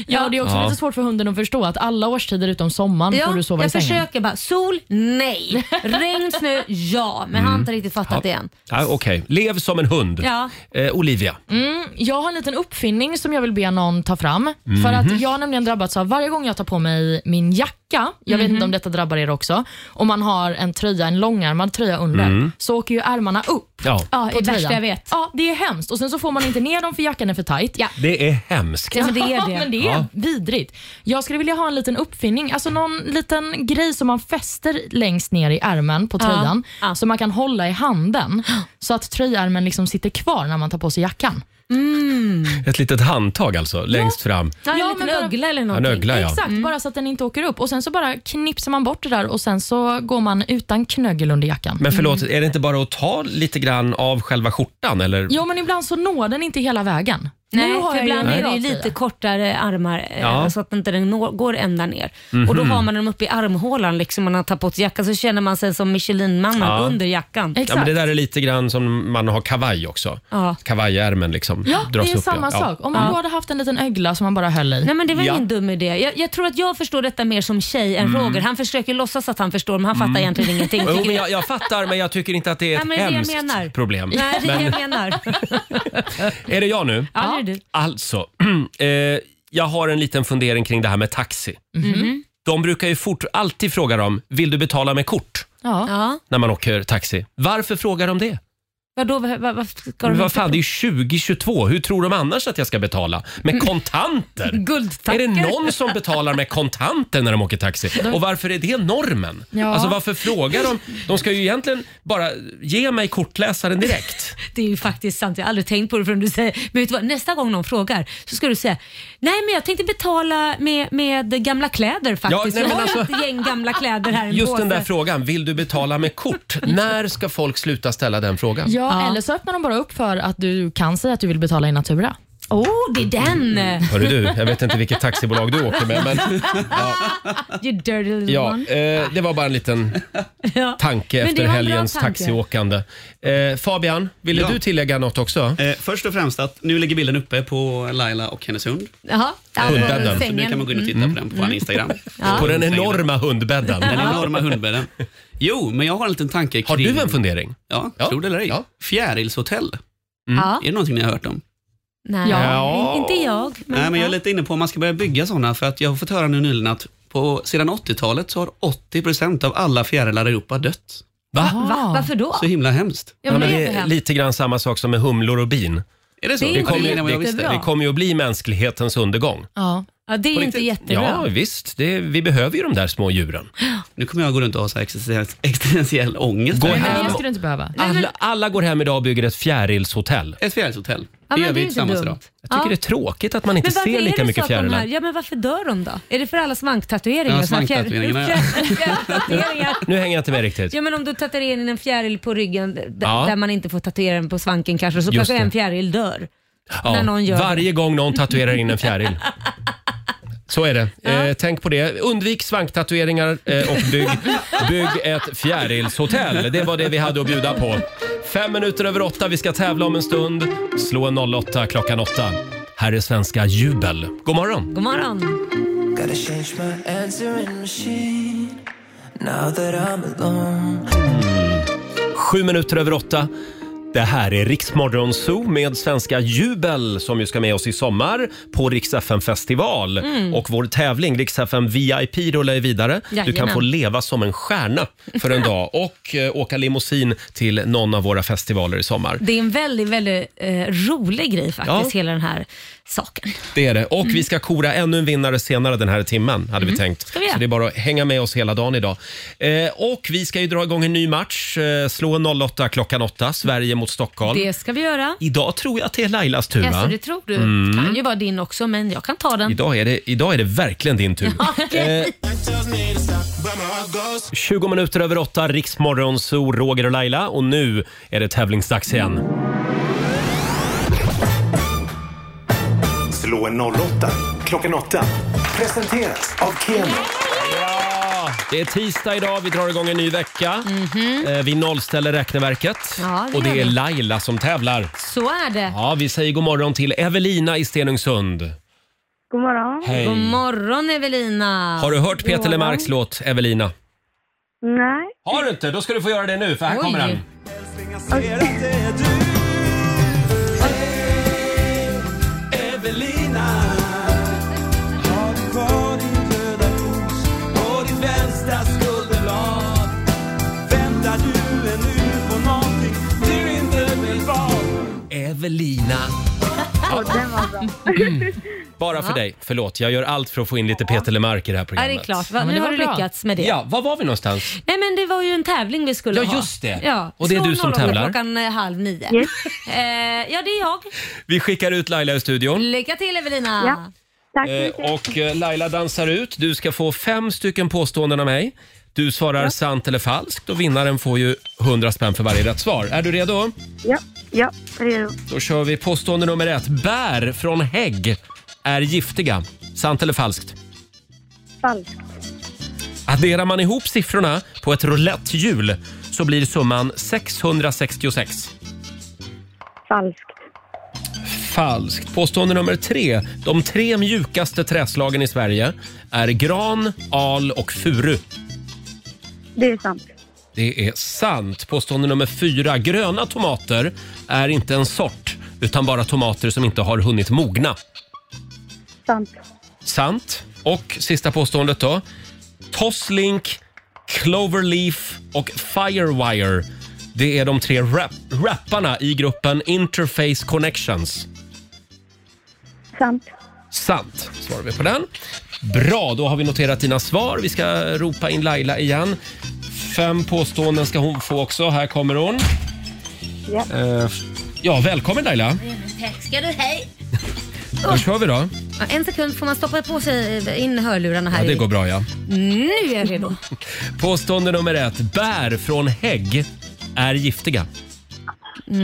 Speaker 5: Ja, och det är också
Speaker 1: Ja.
Speaker 5: lite svårt för hunden att förstå att alla årstider utom sommaren
Speaker 2: Ja,
Speaker 5: får du sova i
Speaker 2: jag
Speaker 5: sängen.
Speaker 2: försöker bara. Sol, nej. Regn, snö, ja. Men han har inte riktigt fattat det än.
Speaker 1: Ja, Okej, lev som en hund.
Speaker 5: Ja.
Speaker 1: Eh, Olivia.
Speaker 5: Mm, jag har en liten uppfinning som jag vill be någon ta fram.
Speaker 1: Mhm.
Speaker 5: För att Jag har nämligen drabbats av varje gång jag tar på mig min jacka, jag vet
Speaker 13: Mhm.
Speaker 5: inte om detta drabbar er också, om man har en tröja, en långärmad tröja under,
Speaker 13: Mm.
Speaker 5: så åker ju ärmarna upp.
Speaker 1: Ja.
Speaker 2: Ja, det är värsta jag vet.
Speaker 5: Ja, det är hemskt. Och Sen så får man inte ner dem för jackan är för tajt. Ja.
Speaker 1: Det är hemskt.
Speaker 5: Ja, men det är det. men det är
Speaker 1: Ja.
Speaker 5: vidrigt. Jag skulle vilja ha en liten uppfinning, alltså någon liten grej som man fäster längst ner i ärmen på
Speaker 2: Ja.
Speaker 5: tröjan, som man kan hålla i handen, så att tröjärmen liksom sitter kvar när man tar på sig jackan.
Speaker 2: Mm.
Speaker 1: Ett litet handtag alltså, längst fram.
Speaker 2: Ja, en liten ögla eller någonting.
Speaker 1: En ögla, ja.
Speaker 5: Exakt,
Speaker 2: Mm.
Speaker 5: bara så att den inte åker upp. Och Sen så bara knipsar man bort det där och sen så går man utan knögel under jackan.
Speaker 1: Men förlåt,
Speaker 2: Mm.
Speaker 1: är det inte bara att ta lite grann av själva skjortan? Eller?
Speaker 5: Jo, men ibland så når den inte hela vägen.
Speaker 2: Nej,
Speaker 5: nu har
Speaker 2: för
Speaker 5: jag ju
Speaker 2: ibland
Speaker 5: en
Speaker 2: är det ju
Speaker 5: raktröja.
Speaker 2: lite kortare armar eh,
Speaker 1: Ja.
Speaker 2: så att inte den når, går ända ner.
Speaker 1: Mhm.
Speaker 2: Och då har man den uppe i armhålan liksom, man har tagit bort jackan så känner man sig som Michelinmannen
Speaker 1: Ja.
Speaker 2: under jackan.
Speaker 1: Ja, men det där är lite grann som man har kavaj också.
Speaker 2: Ja.
Speaker 1: Kavajärmen liksom
Speaker 5: Ja, det
Speaker 1: dras
Speaker 5: är
Speaker 1: upp.
Speaker 5: samma sak. Om man
Speaker 1: Ja.
Speaker 5: då hade haft en liten ögla som man bara höll i.
Speaker 2: Nej men det var
Speaker 1: Ja.
Speaker 2: ingen dum idé. Jag, jag tror att jag förstår detta mer som tjej än
Speaker 1: Mm.
Speaker 2: Roger. Han försöker låtsas att han förstår men han fattar egentligen ingenting.
Speaker 1: Jo,
Speaker 2: tycker
Speaker 1: men
Speaker 2: jag.
Speaker 1: jag, jag fattar, men jag tycker inte att det
Speaker 2: Nej,
Speaker 1: är ett
Speaker 2: men det är det jag
Speaker 1: hemskt
Speaker 2: menar.
Speaker 1: problem.
Speaker 2: Nej, det är det jag
Speaker 1: men,
Speaker 2: menar.
Speaker 1: är det jag nu?
Speaker 2: Ja, det är du.
Speaker 1: Alltså, eh, jag har en liten fundering kring det här med taxi.
Speaker 2: Mhm.
Speaker 1: De brukar ju fort alltid fråga dem, vill du betala med kort?
Speaker 5: Ja.
Speaker 2: ja.
Speaker 1: När man åker taxi. Varför frågar de det?
Speaker 2: Vadå, vad, vad, vad ska
Speaker 1: Men
Speaker 2: de
Speaker 1: vad fan, det är ju 2022. Hur tror de annars att jag ska betala? Med
Speaker 2: Mm.
Speaker 1: kontanter?
Speaker 2: Guldtackor.
Speaker 1: Är det någon som betalar med kontanter när de åker taxi? Och varför är det normen?
Speaker 2: Ja.
Speaker 1: Alltså varför frågar de? De ska ju egentligen bara ge mig kortläsaren direkt.
Speaker 2: Det är ju faktiskt sant. Jag har aldrig tänkt på det förrän du säger Men vet du vad? Nästa gång någon frågar så ska du säga Nej men jag tänkte betala med, med gamla kläder
Speaker 1: Ja,
Speaker 2: faktiskt.
Speaker 1: nej,
Speaker 2: jag
Speaker 1: men
Speaker 2: har
Speaker 1: alltså-
Speaker 2: ett gäng gamla kläder här. i en
Speaker 1: Just den där
Speaker 2: påse."
Speaker 1: frågan, vill du betala med kort? När ska folk sluta ställa den frågan?
Speaker 5: Ja, eller så öppnar de bara upp för att du kan säga att du vill betala i natura.
Speaker 2: Åh, oh, det är den!
Speaker 1: Hörru du, jag vet inte vilket taxibolag du åker med men
Speaker 2: You dirty little
Speaker 1: ja,
Speaker 2: one.
Speaker 1: eh, det var bara en liten
Speaker 2: Ja.
Speaker 1: tanke
Speaker 2: Men det
Speaker 1: efter
Speaker 2: var en bra
Speaker 1: helgens
Speaker 2: tanke.
Speaker 1: taxiåkande. Eh, Fabian, ville
Speaker 13: Ja.
Speaker 1: du tillägga något också?
Speaker 13: Eh, först och främst att nu ligger bilden uppe på Laila och hennes hund.
Speaker 2: Jaha, där var
Speaker 13: Hundbädden. Så
Speaker 2: sängen.
Speaker 13: nu kan man gå in och titta på den på vår Instagram.
Speaker 2: Ja.
Speaker 1: På den enorma hundbädden.
Speaker 13: Den enorma hundbädden. Jo, men jag har en liten tanke kring... Har
Speaker 1: du en fundering?
Speaker 13: Ja, tror det eller ej. Fjärilshotell.
Speaker 2: Mm. Ja.
Speaker 13: Är det någonting ni har hört om?
Speaker 2: Nej,
Speaker 13: Ja.
Speaker 2: inte jag. Men,
Speaker 13: Nej, men jag är lite inne på om man ska börja bygga sådana för att jag har fått höra nu nyligen att på, sedan 80-talet så har 80% av alla fjärilar i Europa dött.
Speaker 1: Va?
Speaker 2: Va? Varför då?
Speaker 13: Så himla hemskt.
Speaker 2: Ja, men det är
Speaker 1: det är
Speaker 2: hemskt.
Speaker 1: lite grann samma sak som med humlor och bin.
Speaker 13: Är det så? Det är
Speaker 1: Det
Speaker 13: inte
Speaker 1: kommer ju-
Speaker 13: mer än vad jag
Speaker 1: det-
Speaker 13: visste.
Speaker 1: det kommer ju att bli mänsklighetens undergång.
Speaker 2: Ja. ja, det är
Speaker 1: På
Speaker 2: ju inte
Speaker 1: riktigt?
Speaker 2: jättebra.
Speaker 1: Ja, visst. Det, vi behöver ju de där små djuren.
Speaker 13: Nu kommer jag gå runt och ha så här existentiell, existentiell ångest.
Speaker 1: Gå
Speaker 13: här.
Speaker 5: Men
Speaker 1: hem.
Speaker 5: det skulle du inte behöva.
Speaker 1: Alla, alla går hem idag och bygger ett fjärilshotell.
Speaker 13: Ett fjärilshotell.
Speaker 2: Ja, men det är inte dumt.
Speaker 1: Jag tycker
Speaker 2: Ja.
Speaker 1: det är tråkigt att man inte
Speaker 2: men varför
Speaker 1: ser
Speaker 2: är
Speaker 1: lika
Speaker 2: det
Speaker 1: mycket
Speaker 2: så att de
Speaker 1: fjärilar.
Speaker 2: Här, ja, men varför dör de då? Är det för alla svanktatueringar?
Speaker 1: Ja,
Speaker 2: Så här fjär-
Speaker 1: svanktatueringarna, ja.
Speaker 2: Fjäriltatueringar.
Speaker 1: Nu hänger jag inte med riktigt.
Speaker 2: Ja men om du tatuerar in en fjäril på ryggen d-
Speaker 1: Ja.
Speaker 2: där man inte får tatuera den på svanken kanske så
Speaker 1: Just
Speaker 2: kanske
Speaker 1: det.
Speaker 2: en fjäril dör.
Speaker 1: Ja,
Speaker 2: När någon gör
Speaker 1: varje gång någon tatuerar in en fjäril. Så är det. Eh, tänk på det. Undvik svanktatueringar eh, och bygg, bygg ett fjärilshotell. Det var det vi hade att bjuda på. Fem minuter över åtta. Vi ska tävla om en stund. Slå en 08 klockan åtta. Här är svenska Jubel. God morgon!
Speaker 2: God morgon.
Speaker 12: Gotta change my answering machine now that I'm alone.
Speaker 1: Sju minuter över åtta. Det här är Riksmorgon Zoo med svenska Jubel som ju ska med oss i sommar på Rix FM festival.
Speaker 14: Mm.
Speaker 1: Och vår tävling Rix FM VIP rullar ju vidare. Du kan
Speaker 14: Jajamän.
Speaker 1: få leva som en stjärna för en dag och eh, åka limousin till någon av våra festivaler i sommar.
Speaker 2: Det är en väldigt, väldigt eh, rolig grej faktiskt,
Speaker 1: Ja.
Speaker 2: hela den här saken.
Speaker 1: Det är det. Och vi ska kora ännu en vinnare senare den här timmen, hade vi
Speaker 2: Mm.
Speaker 1: tänkt.
Speaker 2: Ska vi göra.
Speaker 1: Så det är bara att hänga med oss hela dagen idag. Eh, och vi ska ju dra igång en ny match. Eh, slå 08 klockan 8, Sverige mot Stockholm.
Speaker 2: Det ska vi göra.
Speaker 1: Idag tror jag att det är Lailas tur,
Speaker 2: Jaså,
Speaker 1: va?
Speaker 2: det tror du?
Speaker 1: Mm.
Speaker 2: kan ju vara din också, men jag kan ta den.
Speaker 1: Idag är, det, idag är det verkligen din tur.
Speaker 2: Ja, okej.
Speaker 1: Eh, 20 minuter över 8, Riksmorgon, Zoo, Roger och Laila. Och nu är det tävlingsdags igen.
Speaker 3: Slå en 08 klockan 8. Presenteras av Keno.
Speaker 1: Ja, det är tisdag idag, vi drar igång en ny vecka. Eh, Vi nollställer räkneverket
Speaker 2: Mhm. Ja, det
Speaker 1: och
Speaker 2: gör
Speaker 1: det är
Speaker 2: vi.
Speaker 1: Laila som tävlar.
Speaker 2: Så är det.
Speaker 1: Ja, vi säger god morgon till Evelina i Stenungsund.
Speaker 2: God morgon.
Speaker 1: Hej.
Speaker 2: God morgon Evelina.
Speaker 1: Har du hört Peter Lemarks låt Evelina?
Speaker 2: Nej.
Speaker 1: Har du inte? Då ska du få göra det nu, för här
Speaker 2: Oj.
Speaker 1: kommer den.
Speaker 12: Evelina Har du kvar din röda ros och ditt vänstra skulderblad? Väntar du ännu på någonting du inte vet vad?
Speaker 1: Evelina Mm.
Speaker 4: Ja, den var bra.
Speaker 1: Bara för
Speaker 2: Ja.
Speaker 1: dig. Förlåt, jag gör allt för att få in lite Peter Lemark i det här
Speaker 2: Ja,
Speaker 1: programmet.
Speaker 2: det är klart. Va, nu har du lyckats med det.
Speaker 1: Ja, var var vi någonstans?
Speaker 2: Nej men det var ju en tävling vi skulle
Speaker 1: Ja,
Speaker 2: ha.
Speaker 1: just det.
Speaker 2: Ja.
Speaker 1: Och det är
Speaker 2: Slå
Speaker 1: du som
Speaker 2: 08
Speaker 1: tävlar.
Speaker 2: klockan eh, halv nio. Eh, ja, det är jag.
Speaker 1: Vi skickar ut Laila i studion.
Speaker 2: Lycka till Evelina.
Speaker 1: Eh, och eh, Laila dansar ut. Du ska få fem stycken påståenden av mig. Du svarar sant eller falskt och vinnaren får ju 100 spänn för varje rätt svar. Är du redo?
Speaker 4: Ja, ja, redo.
Speaker 1: Då kör vi påstående nummer ett. Bär från hägg är giftiga. Sant eller falskt?
Speaker 4: Falskt.
Speaker 1: Adderar man ihop siffrorna på ett roulettehjul så blir summan 666.
Speaker 4: Falskt.
Speaker 1: Falskt. Påstående nummer tre. De tre mjukaste träslagen i Sverige är gran, al och furu.
Speaker 4: Det är sant.
Speaker 1: Det är sant. Påstående nummer fyra. Gröna tomater är inte en sort utan bara tomater som inte har hunnit mogna.
Speaker 4: Sant.
Speaker 1: Sant. Och sista påståendet då. Tosslink, Cloverleaf och Firewire. Det är de tre rap- rapparna i gruppen Interface Connections.
Speaker 4: Sant.
Speaker 1: Sant, svarar vi på den. Bra, då har vi noterat dina svar. Vi ska ropa in Laila igen. Fem påståenden ska hon få också. Här kommer hon.
Speaker 4: Ja.
Speaker 1: Eh, Ja, välkommen Laila.
Speaker 2: Tack ska du hej.
Speaker 1: Då kör vi då.
Speaker 2: Ja, En sekund får man stoppa på sig eh, in hörlurarna
Speaker 1: Ja,
Speaker 2: här.
Speaker 1: det
Speaker 2: i.
Speaker 1: går bra ja.
Speaker 2: Nu är jag redo.
Speaker 1: Påstående nummer ett. Bär från hägg är giftiga.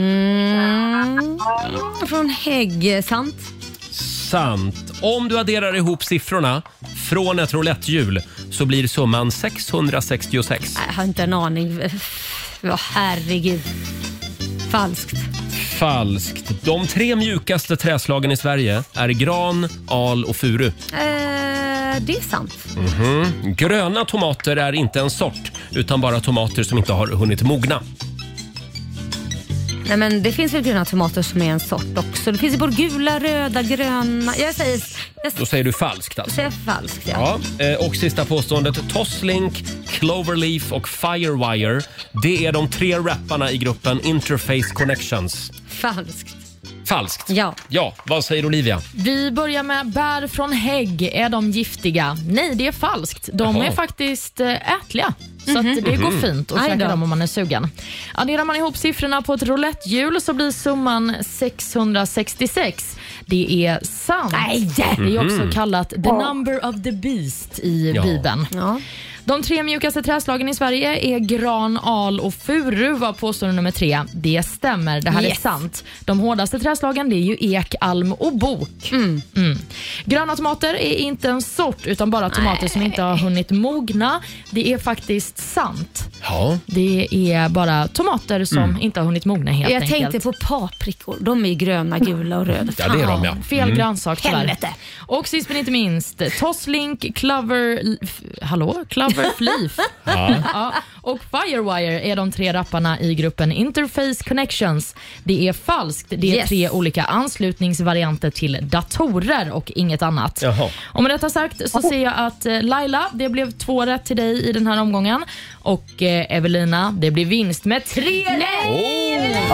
Speaker 2: Mm. Från hägg, sant?
Speaker 1: Sant. Om du adderar ihop siffrorna från ett roulettehjul så blir summan 666.
Speaker 2: Jag har inte en aning. Ja, herregud. Falskt.
Speaker 1: Falskt. De tre mjukaste träslagen i Sverige är gran, al och furu.
Speaker 2: Eh, det är sant.
Speaker 1: Mhm. Gröna tomater är inte en sort utan bara tomater som inte har hunnit mogna.
Speaker 2: Nej, men det finns väl gröna tomater som är en sort också. Det finns ju både gula, röda, gröna. Jag säger, jag
Speaker 1: Då säger du falskt alltså.
Speaker 2: säger falskt. Ja.
Speaker 1: Ja, eh, och sista påståendet. Tosslink, Cloverleaf och Firewire. Det är de tre rapparna i gruppen Interface Connections.
Speaker 2: Falskt.
Speaker 1: Falskt.
Speaker 5: Ja.
Speaker 1: Ja, vad säger Olivia?
Speaker 5: Vi börjar med bär från hägg. Är de giftiga? Nej, det är falskt. De
Speaker 1: Jaha.
Speaker 5: är faktiskt eh, ätliga. Så
Speaker 2: Mhm.
Speaker 5: att det går
Speaker 2: Mhm.
Speaker 5: fint att
Speaker 2: Aj
Speaker 5: käka
Speaker 2: då.
Speaker 5: dem om man är sugen. Adderar man ihop siffrorna på ett roulettehjul så blir summan 666. Det är sant.
Speaker 2: Nej.
Speaker 5: Det är också
Speaker 2: Mhm.
Speaker 5: kallat the
Speaker 2: Ja.
Speaker 5: number of the beast i
Speaker 2: Ja.
Speaker 5: Bibeln. De tre mjukaste träslagen i Sverige är gran, al och furu var påstående nummer tre. Det stämmer, det här
Speaker 2: Yes.
Speaker 5: är sant. De hårdaste träslagen det är ju ek, alm och bok. Mm. Gröna tomater är inte en sort utan bara tomater som inte har hunnit mogna. Det är faktiskt sant.
Speaker 1: Ja.
Speaker 5: Det är bara tomater som
Speaker 2: Mm.
Speaker 5: inte har hunnit mogna helt
Speaker 2: jag
Speaker 5: enkelt.
Speaker 2: tänkte på paprikor. De är ju gröna, gula och röda.
Speaker 5: Ja, det är de, ja.
Speaker 2: Fan.
Speaker 5: Fel grönsak, tyvärr.
Speaker 2: Helvete.
Speaker 5: Och sist men inte minst, Toslink, Clover... Hallå? Cloverleaf.
Speaker 12: Ja.
Speaker 5: Ja. Och Firewire är de tre rapparna i gruppen Interface Connections. Det är falskt. Det är
Speaker 2: Yes.
Speaker 5: tre olika anslutningsvarianter till datorer och inget annat. Och med detta sagt så ser jag att eh, Laila, det blev två rätt till dig i den här omgången. Och eh, Evelina, det blir vinst med tre rätt!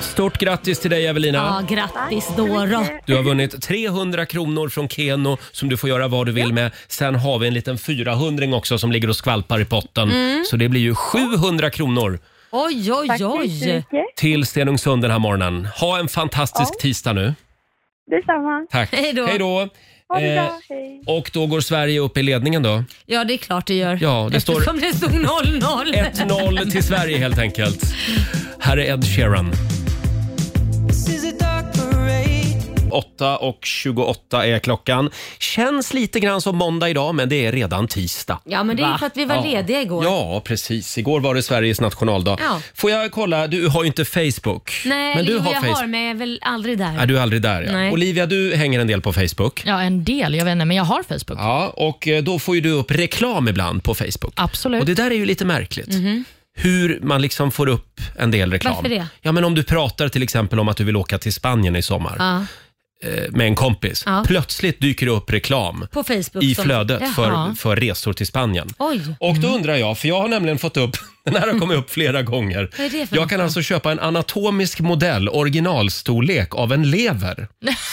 Speaker 1: Stort grattis till dig Evelina.
Speaker 2: Ja, grattis då. då.
Speaker 1: Du har vunnit 300 kronor från Keno som du får göra vad du vill med. Sen har vi en liten 400 också som ligger och skvalpar i potten.
Speaker 2: Mm.
Speaker 1: Så det blir ju 700 kronor
Speaker 2: Oj, oj, oj.
Speaker 1: till Stenungsund den här morgonen. Ha en fantastisk tisdag nu.
Speaker 2: Detsamma.
Speaker 1: Tack. Hej då.
Speaker 2: Ha det bra.
Speaker 1: Eh, och då går Sverige upp i ledningen då.
Speaker 2: Ja, det är klart det gör.
Speaker 1: Ja, det står
Speaker 2: Eftersom det stod 0-0.
Speaker 1: 1-0 till Sverige helt enkelt. Här är Ed Sheeran. 8 och 28 är klockan. Känns lite grann som måndag idag, men det är redan tisdag.
Speaker 2: Ja, men det är ju för att vi var
Speaker 1: Ja.
Speaker 2: lediga igår.
Speaker 1: Ja, precis. Igår var det Sveriges nationaldag.
Speaker 2: Ja.
Speaker 1: Får jag kolla, du har ju inte Facebook.
Speaker 2: Nej,
Speaker 1: men du
Speaker 2: jo,
Speaker 1: har
Speaker 2: jag
Speaker 1: Facebook.
Speaker 2: har, men jag är väl aldrig där.
Speaker 1: Nej, du är aldrig där. Ja.
Speaker 2: Nej.
Speaker 1: Olivia, du hänger en del på Facebook.
Speaker 5: Ja, en del. Jag vet inte, men jag har Facebook.
Speaker 1: Ja, och eh, då får ju du upp reklam ibland på Facebook.
Speaker 5: Absolut.
Speaker 1: Och det där är ju lite märkligt. Hur man liksom får upp en del reklam.
Speaker 2: Mhm. Varför det?
Speaker 1: Ja, men om du pratar till exempel om att du vill åka till Spanien i sommar.
Speaker 2: Ja.
Speaker 1: eh, med en kompis.
Speaker 2: Ja.
Speaker 1: Plötsligt dyker det upp reklam
Speaker 2: På Facebook.
Speaker 1: i
Speaker 2: som-
Speaker 1: flödet för,
Speaker 2: Jaha.
Speaker 1: för resor till Spanien.
Speaker 2: Oj.
Speaker 1: Och då undrar jag, för jag har nämligen fått upp, den här har kommit upp flera gånger.
Speaker 2: Vad är det för
Speaker 1: Jag kan alltså köpa en anatomisk modell, originalstorlek, av en lever.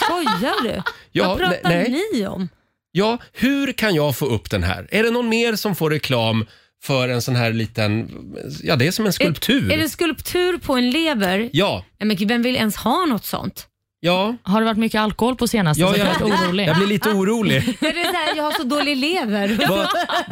Speaker 2: Skojar du?
Speaker 1: Ja,
Speaker 2: Vad pratar
Speaker 1: nej.
Speaker 2: ni om?
Speaker 1: Ja, hur kan jag få upp den här? Är det någon mer som får reklam för en sån här liten, ja det är som en skulptur.
Speaker 2: Är, är det skulptur på en lever?
Speaker 1: Ja.
Speaker 2: Nej, men gud, vem vill ens ha något sånt?
Speaker 1: Ja.
Speaker 5: Har det varit mycket alkohol på senaste?
Speaker 1: Ja,
Speaker 5: så jag,
Speaker 1: jag,
Speaker 5: är lite orolig.
Speaker 1: jag blir lite orolig.
Speaker 2: Är det så här, jag har så dålig lever.
Speaker 1: Vad,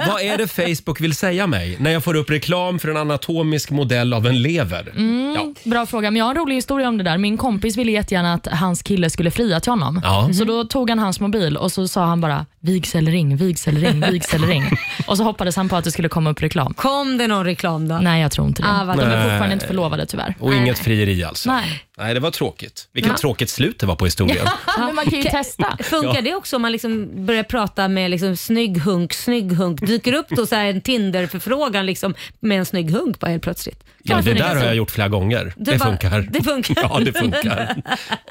Speaker 1: vad är det Facebook vill säga mig när jag får upp reklam för en anatomisk modell av en lever?
Speaker 5: Mm, Bra fråga, men jag har en rolig historia om det där. Min kompis ville jättegärna att hans kille skulle fria till honom.
Speaker 1: Ja. Mhm.
Speaker 5: Så då tog han hans mobil och så sa han bara vigselring, vigselring, vigselring. och så hoppades han på att det skulle komma upp reklam.
Speaker 2: Kom det någon reklam då?
Speaker 5: Nej, jag tror inte det.
Speaker 2: Ah, vad
Speaker 5: De är
Speaker 1: Nej.
Speaker 5: fortfarande inte förlovade tyvärr.
Speaker 1: Och inget frieri alltså?
Speaker 5: Nej.
Speaker 1: Nej, det var tråkigt. Vilket
Speaker 2: Ja.
Speaker 1: tråkigt slut det var på historien.
Speaker 5: men man kan ju testa.
Speaker 2: Funkar
Speaker 1: Ja.
Speaker 2: det också om man liksom börjar prata med liksom snygg hunk, snygg hunk? Dyker upp då så här en Tinder-förfrågan liksom med en snygg hunk bara helt plötsligt?
Speaker 1: Ja,
Speaker 2: Klart
Speaker 1: det
Speaker 2: den är
Speaker 1: där har
Speaker 2: så.
Speaker 1: jag gjort flera gånger.
Speaker 2: Det
Speaker 1: Det,
Speaker 2: bara-
Speaker 1: funkar.
Speaker 2: det funkar.
Speaker 1: Ja, det funkar.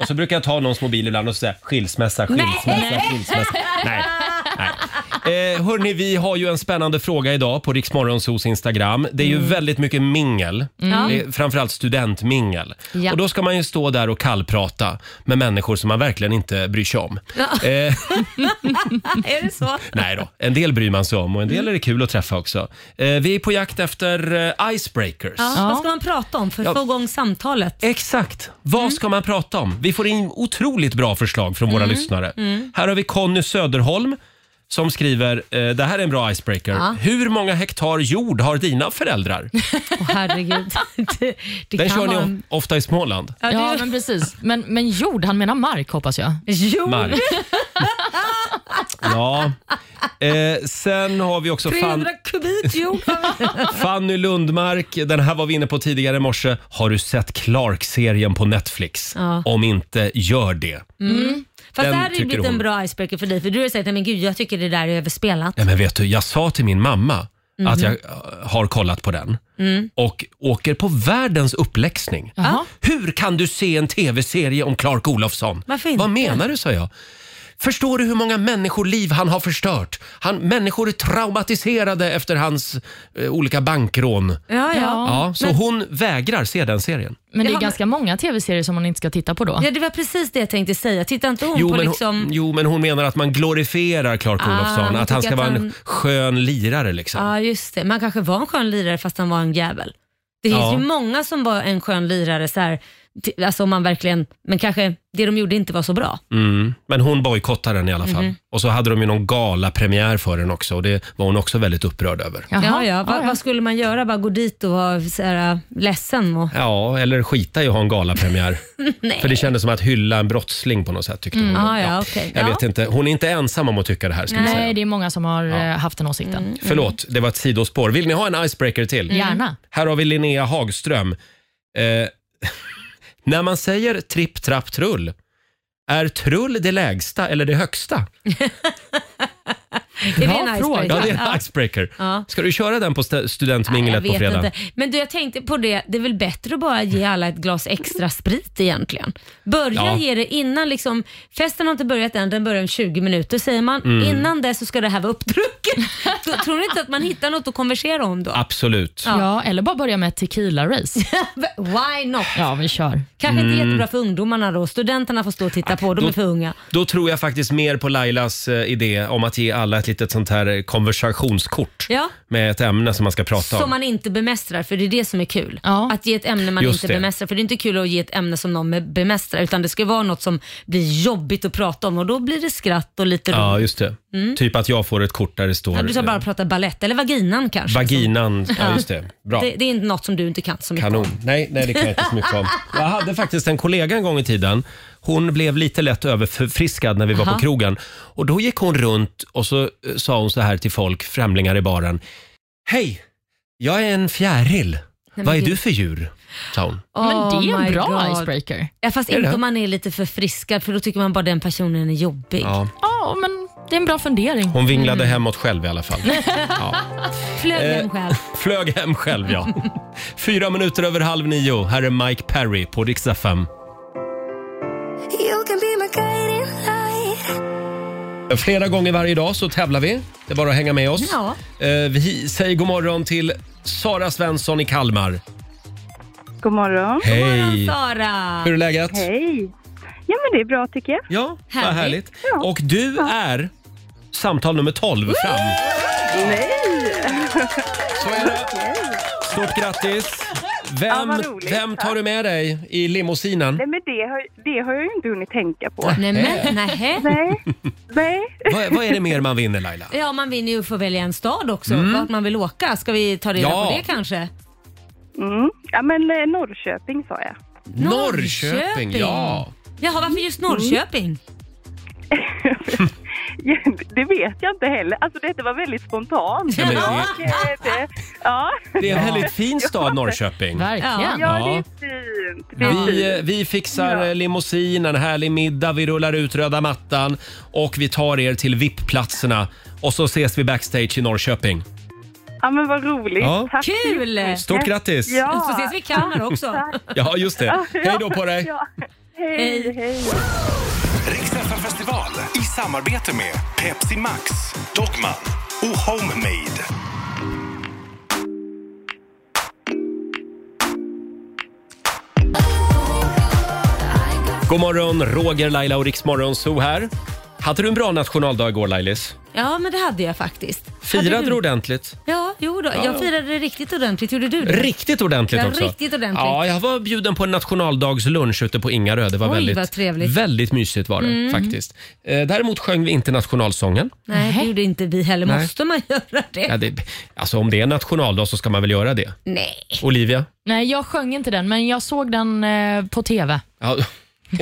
Speaker 1: Och så brukar jag ta någons mobil ibland och säga skilsmässa, skilsmässa,
Speaker 2: Nej!
Speaker 1: skilsmässa. Nej. Nej. Eh, hörni, vi har ju en spännande fråga idag på Riksmorgonsos Instagram. Det är ju väldigt mycket mingel,
Speaker 2: Mm.
Speaker 1: Det är framförallt studentmingel.
Speaker 2: Ja.
Speaker 1: Och då ska man ju stå där och kallprata med människor som man verkligen inte bryr sig om.
Speaker 2: Ja.
Speaker 1: Eh,
Speaker 2: är det så?
Speaker 1: Nej då, en del bryr man sig om och en
Speaker 2: Mm.
Speaker 1: del är det kul att träffa också. Eh, vi är på jakt efter eh, icebreakers.
Speaker 2: Ja, Vad ska man prata om för att
Speaker 1: Ja.
Speaker 2: få igång samtalet?
Speaker 1: Exakt. Vad
Speaker 2: Mm.
Speaker 1: ska man prata om? Vi får in otroligt bra förslag från våra
Speaker 2: Mm.
Speaker 1: lyssnare.
Speaker 2: Mm.
Speaker 1: Här har vi Conny Söderholm som skriver, eh, det här är en bra icebreaker.
Speaker 2: Ja.
Speaker 1: Hur många hektar jord har dina föräldrar?
Speaker 2: Åh herregud. Det, det
Speaker 1: Den
Speaker 2: kan
Speaker 1: kör ni
Speaker 2: vara-
Speaker 1: o- ofta i Småland.
Speaker 5: Ja, men precis. Men, men jord, han menar mark hoppas jag.
Speaker 2: Jord?
Speaker 1: Mark. Ja. Eh, sen har vi också Fan,
Speaker 2: 300 kubik jord.
Speaker 1: Fanny Lundmark. Den här var vi inne på tidigare i morse. Har du sett Clark-serien på Netflix?
Speaker 2: Ja.
Speaker 1: Om inte, gör det.
Speaker 2: Mm. Fast
Speaker 1: Den
Speaker 2: det här har ju
Speaker 1: tycker
Speaker 2: blivit en
Speaker 1: hon.
Speaker 2: bra icebreaker för dig för du har sagt men gud jag tycker det där är överspelat.
Speaker 1: Ja, men vet du, jag sa till min mamma
Speaker 2: Mhm.
Speaker 1: att jag eh, har kollat på den
Speaker 2: Mm.
Speaker 1: och åker på världens uppläxning. Hur kan du se en tv-serie om Clark Olofsson?
Speaker 2: Varför inte?
Speaker 1: Vad menar du, sa jag. Förstår du hur många människoliv han har förstört? Han, människor är traumatiserade efter hans eh, olika bankrån.
Speaker 2: ja.
Speaker 1: Ja, så
Speaker 5: Men-
Speaker 1: hon vägrar se den serien.
Speaker 5: Men
Speaker 2: Ja,
Speaker 5: det är
Speaker 2: men-
Speaker 5: ganska många tv-serier som man inte ska titta på då.
Speaker 2: Ja, det var precis det jag tänkte säga. Titta inte hon
Speaker 1: Jo
Speaker 2: på
Speaker 1: men,
Speaker 2: liksom...
Speaker 1: hon, jo, men hon menar att man glorifierar Clark
Speaker 2: Ah,
Speaker 1: Olofsson.
Speaker 2: man
Speaker 1: Att han
Speaker 2: tycker
Speaker 1: ska
Speaker 2: att
Speaker 1: vara
Speaker 2: han- Ah.
Speaker 1: en skön lirare liksom.
Speaker 2: Ja, just det. Man kanske var en skön lirare fast han var en jävel. Det finns
Speaker 1: Ja.
Speaker 2: ju många som var en skön lirare så här, t- alltså om man verkligen, men kanske det de gjorde inte var så bra.
Speaker 1: Mm. Men hon bojkottade den i alla fall.
Speaker 2: Mhm.
Speaker 1: Och så hade de ju någon galapremiär för den också och det var hon också väldigt upprörd över.
Speaker 2: Jaha, ja, Va, Vad skulle man göra? Bara gå dit och vara så här, äh, ledsen? Och...
Speaker 1: Ja, eller skita i att ha en galapremiär.
Speaker 2: Nej.
Speaker 1: För det kändes som att hylla en brottsling på något sätt tyckte
Speaker 5: Mm.
Speaker 1: hon.
Speaker 5: Ah, ja, okej.
Speaker 1: Jag
Speaker 5: Ja.
Speaker 1: vet inte, hon är inte ensam om att tycka det här ska vi säga.
Speaker 5: Nej, det är många som har eh, haft den åsikten.
Speaker 1: Förlåt, det var ett sidospår. Vill ni ha en icebreaker till?
Speaker 5: Mm. Gärna.
Speaker 1: Här har vi Linnea Hagström. Eh, när man säger tripp, trapp, trull, är trull det lägsta eller det högsta?
Speaker 2: Är det en icebreaker?
Speaker 1: Ja, det är en
Speaker 2: Ja.
Speaker 1: icebreaker.
Speaker 2: Ja.
Speaker 1: Ska du köra den på st- studentminglet på
Speaker 2: Jag vet
Speaker 1: fredag?
Speaker 2: inte. Men du, jag tänkte på det, det är väl bättre att bara ge alla ett glas extra sprit egentligen. Börja
Speaker 1: Ja.
Speaker 2: ge det innan, liksom, festen har inte börjat än, den börjar om 20 minuter. Säger man
Speaker 1: Mm.
Speaker 2: innan det så ska det här vara uppdrucket. Då Tror ni inte att man hittar något att konversera om då?
Speaker 1: Absolut.
Speaker 5: Ja. eller bara börja med ett tequila-race.
Speaker 2: Why not?
Speaker 5: Ja, vi kör.
Speaker 2: Kanske inte
Speaker 1: Mm.
Speaker 2: jättebra för ungdomarna då. Studenterna får stå och titta på, de är
Speaker 1: då-
Speaker 2: för unga.
Speaker 1: Då tror jag faktiskt mer på Lailas eh, idé om att ge alla ett litet sånt här eh, konversationskort
Speaker 2: Ja.
Speaker 1: med ett ämne som man ska prata
Speaker 2: Som
Speaker 1: om.
Speaker 2: man inte bemästrar, för det är det som är kul. Att ge ett ämne man
Speaker 1: Just
Speaker 2: inte
Speaker 1: det.
Speaker 2: bemästrar. För det är inte kul att ge ett ämne som någon be- bemästrar, utan det ska vara något som blir jobbigt att prata om och då blir det skratt och lite
Speaker 1: Ja,
Speaker 2: roligt.
Speaker 1: just det.
Speaker 2: Mm.
Speaker 1: Typ att jag får ett kort där det står
Speaker 2: Ja, du ska
Speaker 1: eh,
Speaker 2: bara prata ballett eller vaginan kanske. liksom.
Speaker 1: vaginan. Ja, just det. Bra.
Speaker 2: Det, det är inte något som du inte kan så mycket
Speaker 1: Kanon.
Speaker 2: om.
Speaker 1: Nej, nej, det kan jag inte så mycket om. Jag hade faktiskt en kollega en gång i tiden. Hon blev lite lätt överförfriskad när vi var
Speaker 2: Aha.
Speaker 1: på krogen. Och Då gick hon runt och så eh, sa hon så här till folk, främlingar i baren. Hej, jag är en fjäril.
Speaker 2: men
Speaker 1: Vad är
Speaker 2: gud.
Speaker 1: du för djur? sa hon.
Speaker 5: Men det är en
Speaker 2: Oh my
Speaker 5: bra icebreaker.
Speaker 2: Ja, fast
Speaker 1: Är det
Speaker 2: inte
Speaker 1: det?
Speaker 2: om man är lite förfriskad för då tycker man bara den personen är jobbig.
Speaker 1: Ja.
Speaker 5: Ja, men det är en bra fundering.
Speaker 1: Hon vinglade
Speaker 2: Mm.
Speaker 1: hemåt själv i alla fall. Ja.
Speaker 2: Flög
Speaker 1: Eh,
Speaker 2: hem själv.
Speaker 1: Flög hem själv, ja. Fyra minuter över halv nio. Här är Mike Perry på Dixtafem.
Speaker 6: You can be my guiding
Speaker 1: Flera gånger varje dag så tävlar vi. Det är bara att hänga med oss.
Speaker 2: Ja.
Speaker 1: Eh, Vi säger god morgon till Sara Svensson i Kalmar.
Speaker 11: God morgon.
Speaker 1: Hej. God morgon,
Speaker 2: Sara.
Speaker 1: Hur är läget?
Speaker 11: Hej. Ja, men det är bra tycker jag.
Speaker 1: Ja, Vad härligt. Och du är samtal nummer 12 fram.
Speaker 11: Nej!
Speaker 1: Så är det. Stort grattis!
Speaker 11: Ja,
Speaker 1: Vem,
Speaker 11: vad roligt,
Speaker 1: vem tar
Speaker 11: tack.
Speaker 1: du med dig i limousinen?
Speaker 11: Nej, men det har, det har jag ju inte hunnit tänka på.
Speaker 1: Nej, men,
Speaker 2: nej.
Speaker 11: nej. nej.
Speaker 1: Vad, vad är det mer man vinner Laila?
Speaker 2: Ja, man vinner ju att få välja en stad också,
Speaker 1: Mm.
Speaker 2: vart man vill åka. Ska vi ta reda
Speaker 1: Ja.
Speaker 2: på det kanske?
Speaker 11: Mm. Ja, men eh, Norrköping sa jag.
Speaker 1: Norrköping, Norrköping, ja.
Speaker 2: Jaha, varför just
Speaker 11: Mm.
Speaker 2: Norrköping?
Speaker 11: Ja, det vet jag inte heller. Alltså detta var väldigt spontant.
Speaker 1: Ja, men det-
Speaker 11: Och, eh, det, ja.
Speaker 1: Det är en väldigt fin stad Norrköping.
Speaker 11: Ja, ja, det är fint. Det är fint.
Speaker 1: Vi, eh, vi fixar ja. limousin, en härlig middag, vi rullar ut röda mattan och vi tar er till VIP-platserna och så ses vi backstage i Norrköping.
Speaker 11: Ja, men vad roligt.
Speaker 1: Ja.
Speaker 11: Tack så
Speaker 2: Kul!
Speaker 11: mycket.
Speaker 1: Stort grattis.
Speaker 11: Ja.
Speaker 2: Så ses vi i Kalmar också.
Speaker 11: Tack.
Speaker 1: Ja, just det. Hej då på dig!
Speaker 11: Ja. Hej, hej.
Speaker 3: Riksfestival i samarbete med Pepsi Max, Dogman och Homemade.
Speaker 1: God morgon, Roger, Laila och Riksmorgon Zoo här. Hade du en bra nationaldag igår Lailis?
Speaker 2: Ja, men det hade jag faktiskt. Hade
Speaker 1: Firade
Speaker 2: du?
Speaker 1: du ordentligt?
Speaker 2: Ja, jo då.
Speaker 1: Ja.
Speaker 2: Jag firade det riktigt ordentligt. Gjorde du det?
Speaker 1: Riktigt ordentligt
Speaker 2: Ja,
Speaker 1: också.
Speaker 2: riktigt ordentligt.
Speaker 1: Ja, jag var bjuden på en nationaldagslunch ute på Ingarö. Det var
Speaker 2: Oj,
Speaker 1: väldigt,
Speaker 2: vad trevligt.
Speaker 1: väldigt mysigt var det
Speaker 2: Mm.
Speaker 1: faktiskt. Eh, Däremot sjöng vi inte nationalsången.
Speaker 2: Nej, det gjorde inte vi heller.
Speaker 1: Nej.
Speaker 2: Måste man göra det?
Speaker 1: Ja, det, alltså om det är nationaldag så ska man väl göra det.
Speaker 2: Nej.
Speaker 1: Olivia?
Speaker 5: Nej, jag sjöng inte den, men jag såg den eh, på TV.
Speaker 1: Ja,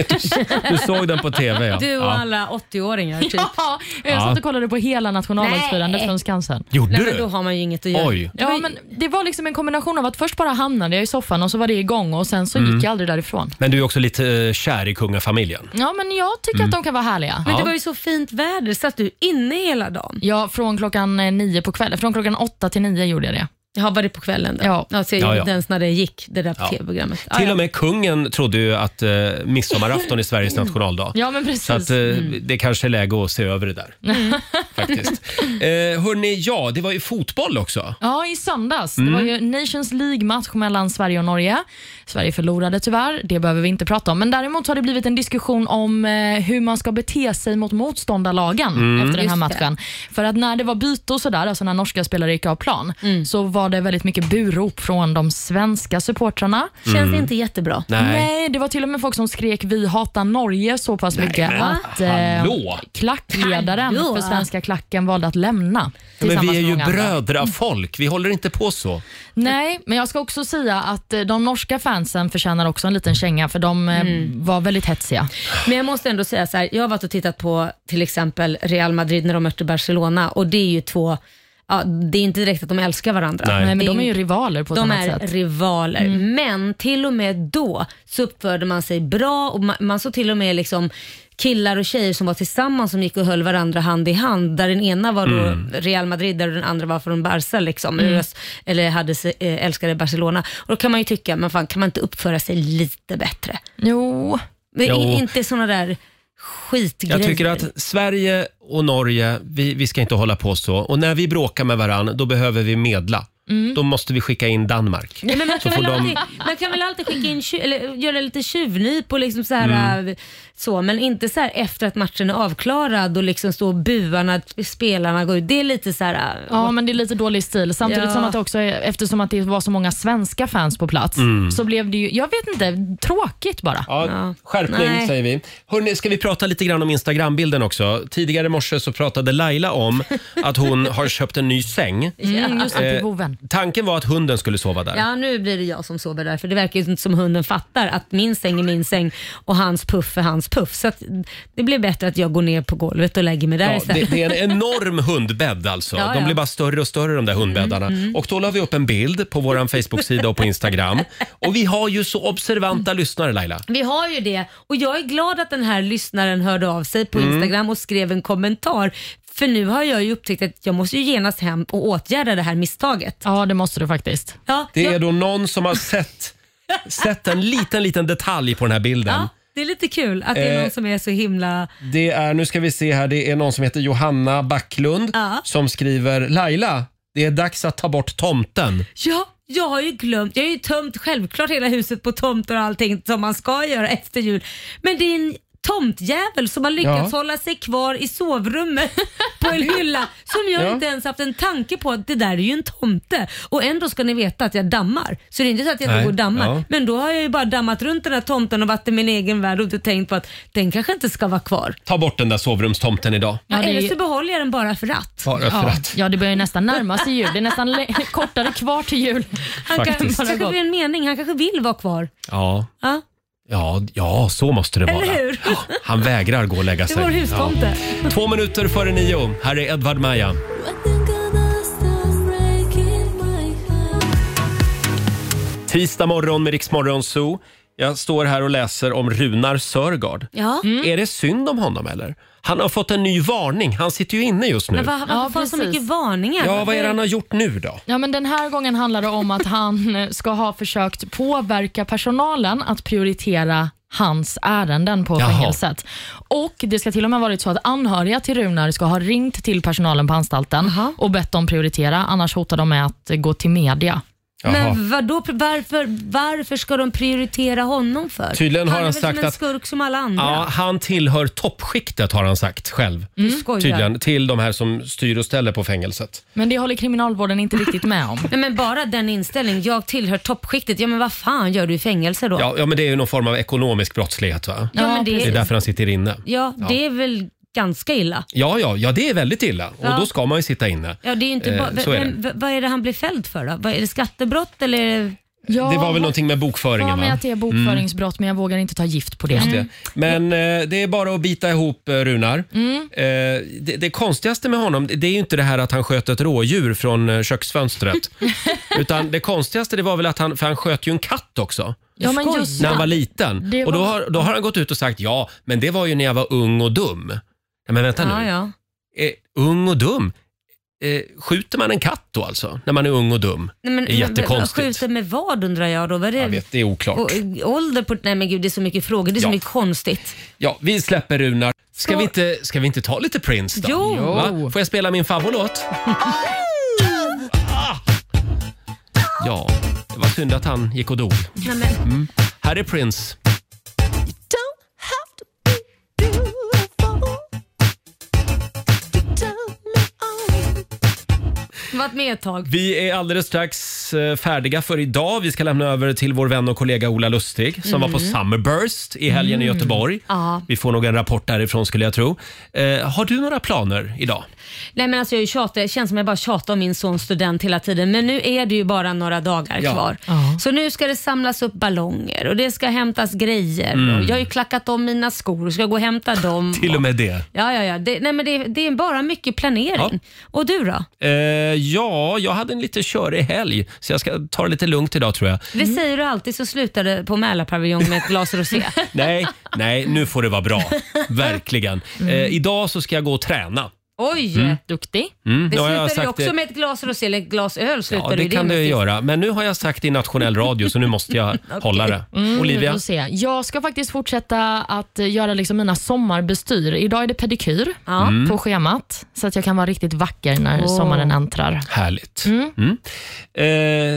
Speaker 1: du såg den på TV ja.
Speaker 5: Du och
Speaker 1: ja.
Speaker 5: alla-
Speaker 2: Alla 80-åringar typ.
Speaker 5: Ja, jag
Speaker 1: Ja.
Speaker 5: satt och kollade på hela nationaldagsfirandet
Speaker 2: Nej.
Speaker 5: från Skansen.
Speaker 1: Gjorde
Speaker 2: Nej,
Speaker 1: du?
Speaker 2: men då har man ju inget att göra.
Speaker 1: Oj.
Speaker 5: Ja, men det var liksom en kombination av att först bara hamnade jag i soffan och så var det igång och sen så
Speaker 1: Mm.
Speaker 5: gick jag aldrig därifrån.
Speaker 1: Men du är också lite eh, kär i kungafamiljen.
Speaker 5: Ja, men jag tycker
Speaker 1: Mm.
Speaker 5: att de kan vara härliga.
Speaker 1: Men det Ja. var
Speaker 2: ju så fint väder. Satt du inne hela dagen?
Speaker 5: Ja, från klockan eh, nio på kvällen. Från klockan åtta till nio gjorde jag det.
Speaker 2: Ja, var det på kvällen då?
Speaker 5: Ja.
Speaker 2: Ja, så jag
Speaker 1: Ja,
Speaker 2: gjorde
Speaker 1: ja.
Speaker 2: inte ens när det gick, det där
Speaker 1: Ja.
Speaker 2: tv-programmet. Ah,
Speaker 1: Till
Speaker 2: ja.
Speaker 1: och med kungen trodde ju att eh, midsommarafton är Sveriges nationaldag.
Speaker 5: Mm. Ja, men precis.
Speaker 1: Så att, eh,
Speaker 5: Mm.
Speaker 1: det kanske är läge att se över det där. Faktiskt. Eh, hörni, ja, det var ju fotboll också.
Speaker 5: Ja, i söndags.
Speaker 1: Mm.
Speaker 5: Det var ju Nations League-match mellan Sverige och Norge. Sverige förlorade tyvärr, det behöver vi inte prata om. Men däremot har det blivit en diskussion om eh, hur man ska bete sig mot motståndarlagen
Speaker 14: Mm.
Speaker 5: efter den här
Speaker 14: Just det.
Speaker 5: matchen. För att när det var byte och sådär, alltså när norska spelare gick av plan,
Speaker 2: Mm.
Speaker 5: så var det väldigt mycket burop från de svenska supportrarna.
Speaker 2: Känns Mm. inte jättebra.
Speaker 5: Nej.
Speaker 2: Nej.
Speaker 5: det var till och med folk som skrek “Vi hatar Norge” så pass
Speaker 1: Nej,
Speaker 5: mycket
Speaker 1: men
Speaker 5: att eh,
Speaker 1: hallå.
Speaker 5: klackledaren
Speaker 2: Hallå.
Speaker 5: för svenska klacken valde att lämna.
Speaker 1: Ja, men vi
Speaker 5: tillsammans
Speaker 1: är ju
Speaker 5: med många andra.
Speaker 1: brödrafolk, vi håller inte på så.
Speaker 5: Nej, Eh, men jag ska också säga att eh, de norska fansen förtjänar också en liten känga för de eh,
Speaker 2: Mm.
Speaker 5: var väldigt hetsiga.
Speaker 2: Men jag måste ändå säga så här, jag har varit och tittat på till exempel Real Madrid när de mötte Barcelona och det är ju två, ja, det är inte direkt att de älskar varandra.
Speaker 5: Nej. Nej, men
Speaker 2: Det
Speaker 5: de är ju rivaler på ett
Speaker 2: de
Speaker 5: annat
Speaker 2: är
Speaker 5: sätt. Mm.
Speaker 2: rivaler, men till och med då så uppförde man sig bra och man, man såg till och med liksom killar och tjejer som var tillsammans som gick och höll varandra hand i hand. Där den ena var då
Speaker 14: Mm.
Speaker 2: Real Madrid där den andra var från Barca liksom,
Speaker 14: Mm.
Speaker 2: eller, eller hade, se- eh, älskade Barcelona. Och då kan man ju tycka, men fan kan man inte uppföra sig lite bättre?
Speaker 5: Jo.
Speaker 2: Men i-
Speaker 1: Jo.
Speaker 2: inte såna där skitgrejer.
Speaker 1: Jag tycker att Sverige och Norge, vi, vi ska inte hålla på så. Och när vi bråkar med varann, då behöver vi medla.
Speaker 2: Mm.
Speaker 1: Då måste vi skicka in Danmark.
Speaker 2: Nej, men man,
Speaker 1: Så
Speaker 2: kan
Speaker 1: får
Speaker 2: väl
Speaker 1: de...
Speaker 2: alltid, man kan väl alltid skicka in, tju- eller göra lite tjuvnyp och liksom så här,
Speaker 1: Mm.
Speaker 2: äh, så, men inte så här efter att matchen är avklarad och liksom stå och bua när spelarna går ut. Det är lite så här... äh,
Speaker 5: Ja, men det är lite dålig stil. Samtidigt
Speaker 2: Ja.
Speaker 5: som att det också, är- eftersom att det var så många svenska fans på plats,
Speaker 1: Mm.
Speaker 5: så blev det ju, jag vet inte, tråkigt bara.
Speaker 1: Ja, skärpning
Speaker 5: Nej.
Speaker 1: säger vi. Hörrni, ska vi prata lite grann om Instagram-bilden också? Tidigare i morse så pratade Laila om att hon har köpt en ny säng.
Speaker 2: Mm, just det, till
Speaker 1: Eh,
Speaker 2: boven.
Speaker 1: Tanken var att hunden skulle sova där.
Speaker 2: Ja, nu blir det jag som sover där, för det verkar ju inte som hunden fattar att min säng är min säng och hans puff är hans puff. Så att det blir bättre att jag går ner på golvet och lägger mig där
Speaker 1: Ja, det,
Speaker 2: istället.
Speaker 1: det är en enorm hundbädd alltså.
Speaker 2: Ja,
Speaker 1: De
Speaker 2: ja. Mm,
Speaker 1: blir bara större och större de där hundbäddarna. Och då la vi upp en bild på vår Facebook-sida och på Instagram. Och vi har ju så observanta lyssnare Laila.
Speaker 2: Vi har ju det och jag är glad att den här lyssnaren hörde av sig på
Speaker 1: Mm.
Speaker 2: Instagram och skrev en kommentar. För nu har jag ju upptäckt att jag måste ju genast hem och åtgärda det här misstaget.
Speaker 5: Ja, det måste du faktiskt.
Speaker 2: Ja,
Speaker 1: Det är då någon som har sett, sett en liten, liten detalj på den här bilden.
Speaker 2: Det är lite kul att det är
Speaker 1: Eh.
Speaker 2: någon som är så himla...
Speaker 1: Det är, nu ska vi se här, det är någon som heter Johanna Backlund
Speaker 2: Ja.
Speaker 1: som skriver Laila, det är dags att ta bort tomten.
Speaker 2: Ja, jag har ju glömt. Jag har ju tömt självklart hela huset på tomter och allting som man ska göra efter jul. Men det är en tomtjävel som har lyckats
Speaker 1: Ja.
Speaker 2: hålla sig kvar i sovrummet på en hylla som jag
Speaker 1: Ja.
Speaker 2: inte ens haft en tanke på att det där är ju en tomte. Och ändå ska ni veta att jag dammar. Så det är inte så att jag inte
Speaker 1: Nej,
Speaker 2: går och dammar.
Speaker 1: ja.
Speaker 2: Men då har jag ju bara dammat runt den här tomten och varit i min egen värld och inte tänkt på att den kanske inte ska vara kvar.
Speaker 1: Ta bort den där sovrumstomten idag.
Speaker 2: Ja,
Speaker 5: det är
Speaker 2: Eller
Speaker 5: ju-
Speaker 2: så behåller jag den bara för att.
Speaker 1: Bara för
Speaker 5: Ja,
Speaker 1: att.
Speaker 5: ja, det börjar ju nästan närma sig jul. Det är nästan le- kortare kvar till jul.
Speaker 2: Han kan,
Speaker 1: Faktiskt.
Speaker 2: kanske blir en mening, han kanske vill vara kvar.
Speaker 1: Ja.
Speaker 2: Ja,
Speaker 1: Ja, ja, så måste det vara.
Speaker 2: eller hur?
Speaker 1: Han vägrar gå och lägga
Speaker 2: Det
Speaker 1: sig.
Speaker 2: är vår hustomte.
Speaker 1: Ja. Två minuter före nio. Här är Edvard Maja. Tisdag morgon med Rix Morgon Zoo. Jag står här och läser om Runar Sörgard.
Speaker 2: Ja. Mm.
Speaker 1: Är det synd om honom eller? Han har fått en ny varning. Han sitter ju inne just nu.
Speaker 2: Men var, varför
Speaker 5: Ja,
Speaker 2: får han så
Speaker 5: precis.
Speaker 2: mycket varningar?
Speaker 1: Ja, vad är det han har gjort nu då?
Speaker 5: Ja, men den här gången handlar det om att han eh, ska ha försökt påverka personalen att prioritera hans ärenden på
Speaker 14: Jaha.
Speaker 5: fängelset. Och Det ska till och med varit så att anhöriga till Runar ska ha ringt till personalen på anstalten och bett dem prioritera, annars hotar de med att eh, gå till media.
Speaker 2: Men vadå, varför, varför ska de prioritera honom för?
Speaker 1: Tydligen har
Speaker 2: är
Speaker 1: han
Speaker 2: väl
Speaker 1: sagt
Speaker 2: som en
Speaker 1: att-
Speaker 2: skurk som alla andra.
Speaker 1: Ja, han tillhör toppskiktet har han sagt själv.
Speaker 5: Mm.
Speaker 2: skojar.
Speaker 1: Tydligen till de här som styr och ställer på fängelset.
Speaker 5: Men det håller kriminalvården inte riktigt med om.
Speaker 2: Nej, men bara den inställningen, jag tillhör toppskiktet. Ja men vad fan gör du i fängelse då?
Speaker 1: Ja, ja, men det är ju någon form av ekonomisk brottslighet va?
Speaker 2: Ja, men det-
Speaker 1: det är därför han sitter inne.
Speaker 2: Ja, det är väl ganska illa.
Speaker 1: Ja, ja, ja, det är väldigt illa. Och
Speaker 2: Ja.
Speaker 1: då ska man ju sitta inne.
Speaker 2: Ja, det är ju inte
Speaker 1: Eh,
Speaker 2: bara,
Speaker 1: så är det.
Speaker 2: men v- vad är det han blir fälld för då? Vad, är det skattebrott eller? är det-
Speaker 1: det var väl någonting med
Speaker 5: Ja,
Speaker 1: bokföringen
Speaker 5: men
Speaker 1: va? Mm.
Speaker 5: att det är bokföringsbrott, men jag vågar inte ta gift på det. Mm.
Speaker 1: Just det.
Speaker 2: Mm.
Speaker 1: Men eh, det är bara att bita ihop eh, Runar. Eh, det, det konstigaste med honom det är ju inte det här att han sköt ett rådjur från eh, köksfönstret. Utan det konstigaste det var väl att han, för han sköt ju en katt också.
Speaker 5: Ja, men
Speaker 1: Skoj.
Speaker 5: just
Speaker 1: när han
Speaker 5: det.
Speaker 1: var liten.
Speaker 5: Det
Speaker 1: Och då
Speaker 5: var-
Speaker 1: har, då har han gått ut och sagt ja, men det var ju när jag var ung och dum. Nej, men vänta
Speaker 2: Ja,
Speaker 1: nu.
Speaker 2: ja.
Speaker 1: Eh, ung och dum? Eh, skjuter man en katt då alltså? När man är ung och dum?
Speaker 2: Nej, men,
Speaker 1: det är jättekonstigt.
Speaker 2: Skjuter med vad undrar jag då? Vad är det?
Speaker 1: Jag vet, det är oklart.
Speaker 2: Och, eh, ålder på... Nej men gud, det är så mycket frågor. Det är
Speaker 1: Ja.
Speaker 2: så mycket konstigt.
Speaker 1: Ja, vi släpper Runar. Ska,
Speaker 2: Så-
Speaker 1: vi, inte, ska vi inte ta lite Prince då?
Speaker 2: Jo.
Speaker 1: Va? Får jag spela min favoritlåt? Ja, det var synd att han gick och dog.
Speaker 2: Nej, men...
Speaker 1: Mm. Här är Prince.
Speaker 2: Varit med ett tag.
Speaker 1: Vi är alldeles strax eh, färdiga för idag. Vi ska lämna över till vår vän och kollega Ola Lustig som
Speaker 2: Mm.
Speaker 1: var på Summerburst i helgen i
Speaker 2: Mm.
Speaker 1: Göteborg.
Speaker 2: Ja.
Speaker 1: Vi får nog en rapport därifrån skulle jag tro. Eh, har du några planer idag?
Speaker 2: Nej men alltså jag är ju tjatig, det känns som jag bara tjatar om min sons student hela tiden. Men nu är det ju bara några dagar
Speaker 1: Ja.
Speaker 2: kvar. Så nu ska det samlas upp ballonger och det ska hämtas grejer.
Speaker 1: Mm.
Speaker 2: Och jag har ju klackat om mina skor, ska gå och hämta dem.
Speaker 1: Till och med det.
Speaker 2: Ja, ja, ja. Det, nej, men det, det är bara mycket planering. Och du då?
Speaker 1: Eh, ja, jag hade en lite körig helg så jag ska ta det lite lugnt idag tror jag.
Speaker 2: Det säger du alltid så slutar det på Mälarpaviljong med ett glas rosé.
Speaker 1: Nej, nej, nu får det vara bra. Verkligen. Eh, idag så ska jag gå och träna.
Speaker 2: Oj,
Speaker 1: Mm.
Speaker 5: duktig.
Speaker 1: Mm,
Speaker 2: Det
Speaker 1: nu har jag
Speaker 2: slutar ju
Speaker 1: sagt
Speaker 2: också
Speaker 1: det.
Speaker 2: med ett glas rosé eller ett glas öl. Slutar
Speaker 1: Ja, det
Speaker 2: ju
Speaker 1: kan
Speaker 2: med
Speaker 1: det
Speaker 2: sist.
Speaker 1: göra. Men nu har jag sagt det i nationell radio så nu måste jag hålla det.
Speaker 5: Mm, vi
Speaker 1: Olivia?
Speaker 5: får se. Jag ska faktiskt fortsätta att göra liksom mina sommarbestyr. Idag är det pedikyr
Speaker 1: Mm.
Speaker 5: på schemat, så att jag kan vara riktigt vacker när
Speaker 1: Åh.
Speaker 5: sommaren äntrar.
Speaker 1: Härligt.
Speaker 5: Mm.
Speaker 1: Mm.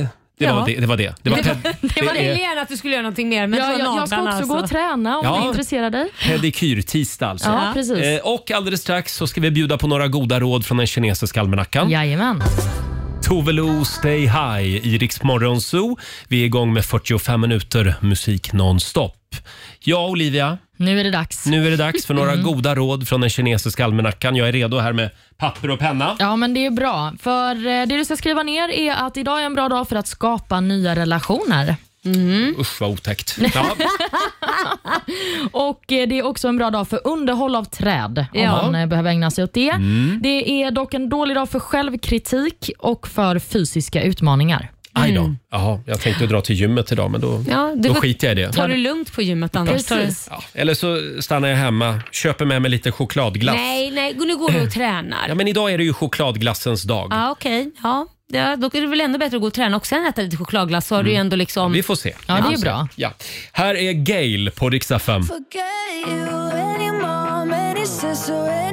Speaker 1: Eh, det,
Speaker 5: Ja.
Speaker 1: var det, det var det. Det var pe-
Speaker 2: Det var
Speaker 1: det är-
Speaker 2: det gärna att du skulle göra någonting mer. Men
Speaker 5: Ja,
Speaker 2: det var
Speaker 5: jag, jag ska
Speaker 2: naglarna,
Speaker 5: också gå och
Speaker 2: alltså.
Speaker 5: träna om
Speaker 1: Ja.
Speaker 5: du är intresserad. dig.
Speaker 1: Pedikyrtisdag alltså.
Speaker 5: Ja, precis.
Speaker 1: Eh, och alldeles strax så ska vi bjuda på några goda råd från den kinesiska almanackan.
Speaker 5: Jajamän.
Speaker 1: Tove Lo, Stay High i Rix Morgon Zoo. Vi är igång med 45 minuter musik nonstop. Ja, Olivia.
Speaker 5: Nu är det dags.
Speaker 1: Nu är det dags för
Speaker 2: Mm.
Speaker 1: några goda råd från den kinesiska almanackan. Jag är redo här med papper och penna.
Speaker 5: Ja, men det är bra. För eh, det du ska skriva ner är att idag är en bra dag för att skapa nya relationer.
Speaker 1: Usch vad otäckt. Ja.
Speaker 5: Och eh, Det är också en bra dag för underhåll av träd om
Speaker 1: Ja.
Speaker 5: man eh, behöver ägna sig åt det.
Speaker 1: Mm.
Speaker 5: Det är dock en dålig dag för självkritik och för fysiska utmaningar.
Speaker 1: Aj då. Jaha, jag tänkte dra till gymmet idag men då,
Speaker 2: Mm. Ja, du
Speaker 1: då
Speaker 2: får-
Speaker 1: skiter jag i det.
Speaker 2: Tar du lugnt på gymmet annars? Tar du...
Speaker 5: Precis.
Speaker 1: Ja, eller så stannar jag hemma, köper med mig lite chokladglass.
Speaker 2: Nej, nej, nu går du och tränar.
Speaker 1: Ja, men idag är det ju chokladglassens dag.
Speaker 2: Ja, okej. Ja. ja, då är det väl ändå bättre att gå och träna och sen äta lite chokladglass så har du ju ändå liksom...
Speaker 1: Vi får se.
Speaker 2: Ja, det är
Speaker 1: Vi får
Speaker 2: bra.
Speaker 1: se. Ja. Här är Gail på riksdag 5.
Speaker 6: Forget you, any mom, any sister, any...